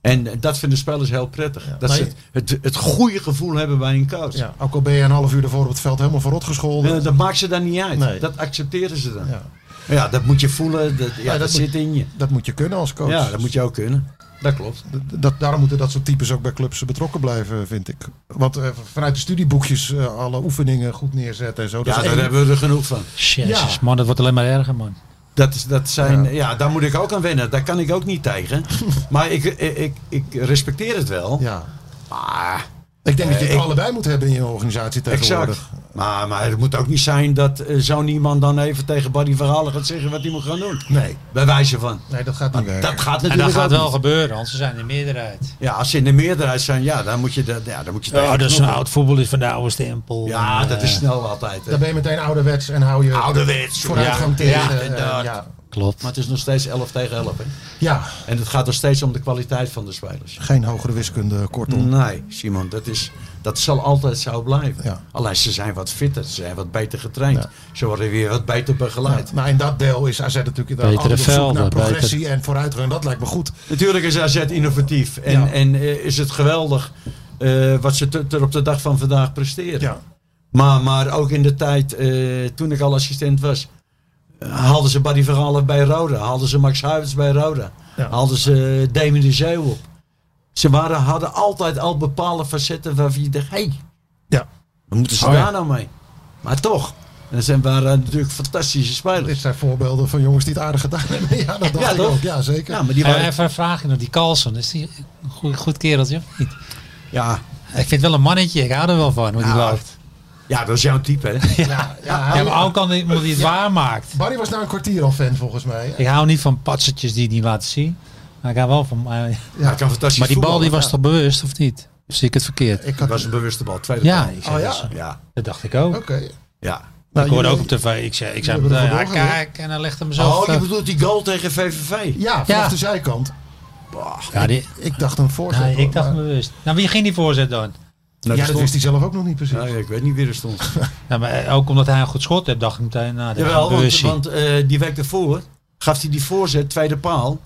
Speaker 5: En dat vinden spelers heel prettig. dat
Speaker 4: maar
Speaker 5: ze
Speaker 4: je-
Speaker 5: het, het, het goede gevoel hebben bij een coach.
Speaker 4: ja, ook al ben je een half uur ervoor op het veld helemaal verrot gescholden.
Speaker 5: Eh, dat maakt ze dan niet uit.
Speaker 4: Nee.
Speaker 5: Dat accepteren ze dan.
Speaker 4: Ja.
Speaker 5: Ja. dat moet je voelen. Dat, ja,
Speaker 4: dat
Speaker 5: dat,
Speaker 4: moet-
Speaker 5: zit in je.
Speaker 4: Dat moet je kunnen als coach.
Speaker 5: Ja, dat moet je ook kunnen. Dat klopt.
Speaker 4: D- Dat, daarom moeten dat soort types ook bij clubs betrokken blijven, vind ik. Want eh, vanuit de studieboekjes eh, alle oefeningen goed neerzetten en zo.
Speaker 5: Ja,
Speaker 4: is
Speaker 5: daar
Speaker 4: één-
Speaker 5: hebben we er genoeg van.
Speaker 3: Jezus, man, dat wordt alleen maar erger, man.
Speaker 5: Dat, is, dat zijn, ja. daar moet ik ook aan wennen. Daar kan ik ook niet tegen. maar ik, ik, ik, ik respecteer het wel.
Speaker 4: Ja.
Speaker 5: Maar,
Speaker 4: Ik denk dat je
Speaker 5: Eh,
Speaker 4: het
Speaker 5: ik-
Speaker 4: allebei moet hebben in je organisatie tegenwoordig.
Speaker 5: exact. Maar, maar het moet ook niet zijn dat eh, zo'n iemand dan even tegen Barry Verhalen gaat zeggen wat hij moet gaan doen.
Speaker 4: Nee,
Speaker 5: Bij wijze van.
Speaker 4: nee, dat gaat niet werken.
Speaker 5: Ah, Dat gaat
Speaker 3: En
Speaker 5: natuurlijk
Speaker 3: dat gaat
Speaker 5: ook
Speaker 3: wel
Speaker 5: niet.
Speaker 3: gebeuren, want ze zijn de meerderheid.
Speaker 5: Ja, als ze in de meerderheid zijn, ja, dan moet je dat. Ja, dan moet je tegen knokken.
Speaker 3: voetbal is van de oude stempel. Eh,
Speaker 5: Ja, dat is snel altijd. hè.
Speaker 4: Dan ben je meteen ouderwets en hou je
Speaker 5: Ouderwets.
Speaker 4: vooruitgang
Speaker 5: Ja,
Speaker 4: tegen.
Speaker 5: ja,
Speaker 4: eh,
Speaker 5: inderdaad.
Speaker 4: ja.
Speaker 3: Klopt.
Speaker 5: Maar het is nog steeds 11 tegen 11. Hè?
Speaker 4: Ja,
Speaker 5: En het gaat nog steeds om de kwaliteit van de spelers.
Speaker 4: geen hogere wiskunde, kortom.
Speaker 5: Nee, Simon, dat, is, dat zal altijd zo blijven.
Speaker 4: Ja.
Speaker 5: Alleen ze zijn wat fitter, ze zijn wat beter getraind. Ze worden weer wat beter begeleid.
Speaker 4: Nou, in dat deel is AZ natuurlijk inderdaad
Speaker 3: Betere
Speaker 4: altijd op zoek
Speaker 3: velden,
Speaker 4: naar progressie
Speaker 3: beter-
Speaker 4: en vooruitgang. Dat lijkt me goed.
Speaker 5: Natuurlijk is AZ innovatief. En,
Speaker 4: Ja.
Speaker 5: en eh, is het geweldig eh, wat ze te- ter op de dag van vandaag presteren.
Speaker 4: Ja.
Speaker 5: Maar, maar ook in de tijd, eh, toen ik al assistent was, eh, haalden ze Barry Verhalen bij Roda. Haalden ze Max Huivers bij Roda.
Speaker 4: Ja.
Speaker 5: Haalden ze eh, Damien de Zeeuw op. Ze waren, hadden altijd al bepaalde facetten waarvan je dacht, hé, hey,
Speaker 4: Ja.
Speaker 5: wat moeten ze
Speaker 3: Oh ja.
Speaker 5: daar nou mee? Maar toch, dat zijn, waren natuurlijk fantastische
Speaker 4: Dit
Speaker 5: spelers.
Speaker 4: zijn voorbeelden van jongens die het aardig gedaan hebben. Ja, dat dacht
Speaker 5: Ja,
Speaker 4: ik
Speaker 5: toch?
Speaker 4: ook. Ja, zeker.
Speaker 5: Ja, Nou, maar die
Speaker 3: Hey,
Speaker 5: waren...
Speaker 3: even een vraagje nog, die Carlson, is die een goed, goed kereltje of niet?
Speaker 5: Ja,
Speaker 3: Ik vind het wel een mannetje, ik hou er wel van hoe die
Speaker 5: Ja.
Speaker 3: loopt.
Speaker 5: ja, dat is jouw type, hè?
Speaker 4: Ja, ja, hij-
Speaker 3: Ja, maar ook al die- omdat hij het waarmaakt.
Speaker 4: Barry was na een kwartier al fan volgens mij.
Speaker 3: Ik hou niet van patsertjes die het niet laten zien. Maar ik hou wel van... eh,
Speaker 5: Ja, hij kan fantastisch
Speaker 3: maar die bal die
Speaker 5: voetballen.
Speaker 3: was toch bewust of niet? Of zie ik het verkeerd?
Speaker 4: Ik
Speaker 5: Het
Speaker 4: had...
Speaker 5: was een bewuste bal, tweede
Speaker 3: Ja,
Speaker 5: paal.
Speaker 3: ik
Speaker 4: Oh
Speaker 3: zei
Speaker 4: ja,
Speaker 3: dat-
Speaker 4: oké.
Speaker 5: ja,
Speaker 3: dat dacht ik ook.
Speaker 5: ja.
Speaker 4: Nou,
Speaker 3: ik hoorde ook
Speaker 4: jullie-
Speaker 3: op tv. Ik zei, ik zei
Speaker 4: hebben
Speaker 3: meteen,
Speaker 4: er
Speaker 3: ja,
Speaker 4: vandoor geleerd.
Speaker 3: kijk. En dan legde hem zo.
Speaker 5: Oh, je bedoelt die goal tegen VVV?
Speaker 4: Ja, vanaf
Speaker 3: Ja.
Speaker 4: de zijkant.
Speaker 3: ja, die,
Speaker 4: Ik dacht een voorzet.
Speaker 3: nee,
Speaker 4: hoor,
Speaker 3: ik dacht
Speaker 4: maar-
Speaker 3: me bewust. Nou, wie ging die voorzet dan?
Speaker 5: Nou,
Speaker 4: ja,
Speaker 5: die
Speaker 4: dat
Speaker 5: stond-
Speaker 4: wist hij zelf ook nog niet precies.
Speaker 5: Ja, ja, ik weet niet wie er stond.
Speaker 3: Ja, maar eh, ook omdat hij een goed schot heeft, dacht ik meteen, nou, dat is
Speaker 5: Jawel, want,
Speaker 3: bewust.
Speaker 5: want eh, die week daarvoor gaf hij die voorzet, tweede paal,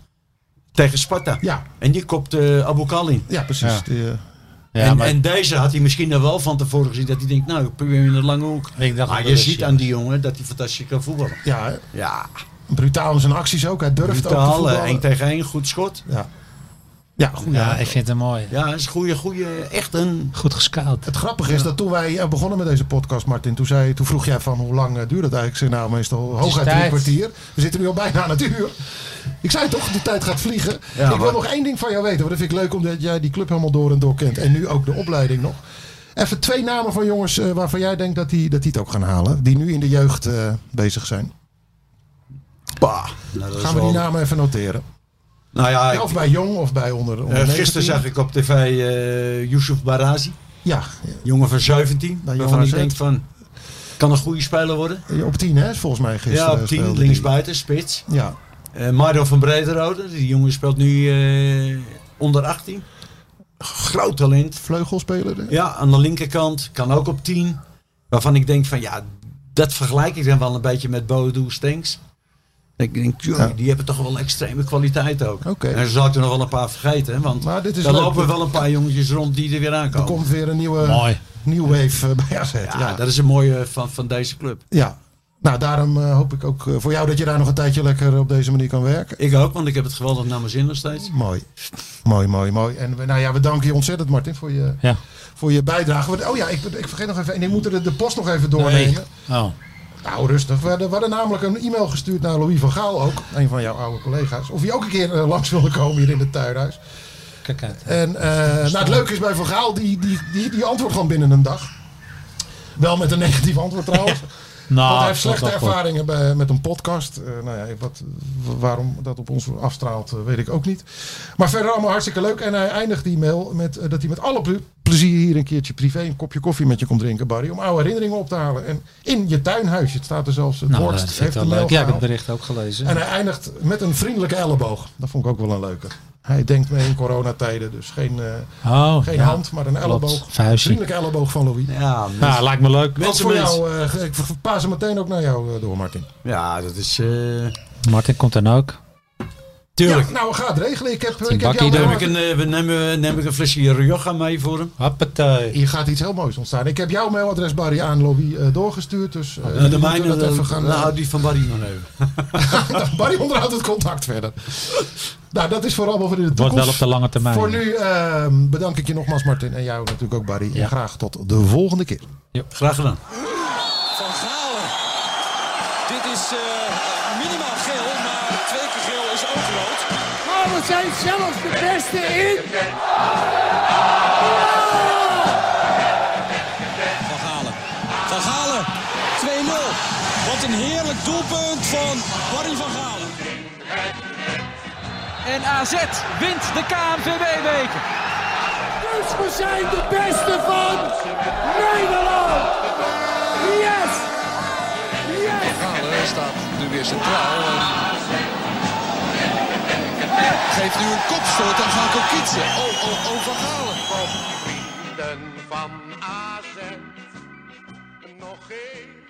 Speaker 5: tegen Sparta.
Speaker 4: Ja,
Speaker 5: En die kopte eh, Abu Kali.
Speaker 4: ja precies.
Speaker 3: Ja.
Speaker 4: Die, eh,
Speaker 3: Ja,
Speaker 5: en,
Speaker 3: maar
Speaker 5: en deze had hij misschien dan wel van tevoren gezien dat hij denkt, nou, ik probeer hem in de lange hoek.
Speaker 3: ik dacht,
Speaker 5: Maar je
Speaker 3: bewust,
Speaker 5: ziet
Speaker 3: ja.
Speaker 5: aan die jongen dat hij fantastisch kan voetballen.
Speaker 4: ja,
Speaker 5: Ja,
Speaker 4: brutaal in zijn acties ook. Hij durft ook te
Speaker 5: brutaal, eh,
Speaker 4: voetballen.
Speaker 5: één tegen één, goed schot.
Speaker 4: Ja, ja, goed, ja.
Speaker 3: Ja, ik vind het mooi.
Speaker 5: Ja, dat is een goede, goede, echt een...
Speaker 3: Goed gescout.
Speaker 4: Het grappige is dat toen wij eh, begonnen met deze podcast, Martin, toen, zei, toen vroeg jij van hoe lang eh, duurt het eigenlijk? Ik zei nou meestal hooguit drie
Speaker 3: tijd.
Speaker 4: kwartier. We zitten nu al bijna aan het uur. Ik zei toch, de tijd gaat vliegen.
Speaker 5: Ja,
Speaker 4: ik wil
Speaker 5: maar-
Speaker 4: nog één ding van jou weten, want dat vind ik leuk omdat jij die club helemaal door en door kent. En nu ook de opleiding nog. Even twee namen van jongens eh, waarvan jij denkt dat die, dat die het ook gaan halen. Die nu in de jeugd eh, bezig zijn.
Speaker 5: Bah. Nou, dat is
Speaker 4: Gaan we die
Speaker 5: wel-
Speaker 4: namen even noteren.
Speaker 5: Nou ja, ik-
Speaker 4: of bij jong of bij onder. onder
Speaker 5: eh, gisteren
Speaker 4: 19.
Speaker 5: zag ik op tv eh Yusuf Barazi.
Speaker 4: Ja,
Speaker 5: Jongen van 17.
Speaker 4: Nou, jongen
Speaker 5: waarvan ik
Speaker 4: van
Speaker 5: denk van, kan een goede speler worden.
Speaker 4: eh, op tien hè, is volgens mij gisteren.
Speaker 5: Ja, op
Speaker 4: speelde
Speaker 5: 10,
Speaker 4: die.
Speaker 5: linksbuiten, spits.
Speaker 4: Ja,
Speaker 5: Eh Mario van Brederode, die jongen speelt nu eh, onder 18. Groot talent.
Speaker 4: vleugelspeler. hè?
Speaker 5: Ja, aan de linkerkant, kan ook op 10. Waarvan ik denk van, ja, dat vergelijk ik dan wel een beetje met Bodo Stenks. Ik denk, joh,
Speaker 4: Ja.
Speaker 5: die hebben toch wel extreme kwaliteit ook.
Speaker 4: Oké.
Speaker 5: En zo zal ik er nog wel een paar vergeten. hè, Want
Speaker 4: Maar dit is
Speaker 5: er
Speaker 4: leuk.
Speaker 5: lopen wel een paar jongetjes rond die er weer
Speaker 4: Er
Speaker 5: aankomen.
Speaker 4: komt weer een nieuwe
Speaker 3: Mooi.
Speaker 4: new wave eh, bij AZ.
Speaker 5: Ja,
Speaker 4: Ja, ja.
Speaker 5: dat is het mooie eh, van, van deze club.
Speaker 4: Nou, daarom eh, hoop ik ook eh, voor jou dat je daar nog een tijdje lekker op deze manier kan werken.
Speaker 5: Ik ook, want ik heb het geweldig naar mijn zin nog steeds.
Speaker 4: Mooi. Mooi, mooi, mooi. En we- nou ja, we danken je ontzettend, Martin, voor je,
Speaker 3: Ja.
Speaker 4: voor je bijdrage. Want- Oh ja, ik, ik vergeet nog even. En ik moet de, de post nog even doornemen.
Speaker 3: Oh.
Speaker 4: Nou, rustig. We hadden, we hadden namelijk een e-mail gestuurd naar Louis van Gaal ook. Een van jouw oude collega's. Of hij ook een keer eh, langs wilde komen hier in het tuinhuis.
Speaker 3: Kijk uit.
Speaker 4: En eh, nou, het leuke is bij Van Gaal, die, die, die, die antwoordt gewoon binnen een dag. Wel met een negatief antwoord trouwens.
Speaker 3: Nou,
Speaker 4: Want
Speaker 3: dat
Speaker 4: hij heeft slechte
Speaker 3: is wel goed.
Speaker 4: ervaringen bij, met een podcast. Eh, nou ja, wat, waarom dat op ons afstraalt, eh, weet ik ook niet. Maar verder allemaal hartstikke leuk. En hij eindigt die mail met eh, dat hij met alle ple- plezier hier een keertje privé een kopje koffie met je komt drinken, Barry. Om oude herinneringen op te halen. En in je tuinhuis, het staat er zelfs, het
Speaker 3: Nou,
Speaker 4: Horst
Speaker 3: dat vind ik
Speaker 4: heeft
Speaker 3: wel
Speaker 4: een mail
Speaker 3: leuk. Ja, ik heb het
Speaker 4: gehaald.
Speaker 3: bericht ook gelezen.
Speaker 4: En hij eindigt met een vriendelijke elleboog. Dat vond ik ook wel een leuke. Hij denkt mee in coronatijden, dus geen, eh,
Speaker 3: Oh,
Speaker 4: geen
Speaker 3: ja.
Speaker 4: hand, maar een elleboog.
Speaker 3: Klopt. Vuistje.
Speaker 4: Vriendelijke elleboog van Louis.
Speaker 5: Ja,
Speaker 3: Nou, lijkt me leuk.
Speaker 4: Wat
Speaker 5: Mensen,
Speaker 4: voor
Speaker 5: mensen.
Speaker 4: jou, eh, ik verpaas hem meteen ook naar jou eh, door, Martin.
Speaker 5: ja dat is... eh,
Speaker 3: Martin komt dan ook.
Speaker 4: Ja, nou, we gaan het regelen. Ik heb, ik heb
Speaker 3: bakkie doen.
Speaker 4: jou
Speaker 5: Neem
Speaker 4: namelijk
Speaker 5: ik, een, eh, we nemen, neem ik een flesje Rioja mee voor hem.
Speaker 3: Hoppatee.
Speaker 4: Hier gaat iets heel moois ontstaan. Ik heb jouw mailadres, Barry, aan Louis eh, doorgestuurd. Dus eh,
Speaker 5: Eh, de
Speaker 4: die
Speaker 5: mijne,
Speaker 4: moeten dat even
Speaker 5: eh,
Speaker 4: gaan...
Speaker 5: nou,
Speaker 4: eh,
Speaker 5: hou die van Barry nog even.
Speaker 4: Barry onderhoudt het contact verder. nou, dat is voor allemaal voor in de
Speaker 3: Wordt
Speaker 4: toekomst.
Speaker 3: wel op de lange termijn.
Speaker 4: Voor nu eh, bedank ik je nogmaals, Martin. En jou natuurlijk ook, Barry. En
Speaker 3: Ja.
Speaker 4: graag tot de volgende keer.
Speaker 5: Graag gedaan.
Speaker 7: Van Galen. Dit is eh, minimaal geel, maar twee keer geel is ook rood.
Speaker 1: Maar Oh, we zijn zelfs de beste in.
Speaker 7: Van Galen. Van Galen. 2-0. Wat een heerlijk doelpunt van Barry van Galen.
Speaker 8: En AZ wint de KNVB-beker.
Speaker 1: Dus we zijn de beste van Nederland. Yes! Yes!
Speaker 2: Galen staat nu weer centraal. en Geeft nu een kopstoot aan Gaan Kokitsen. Oh, oh, oh, Van Galen.
Speaker 6: vrienden van AZ nog even.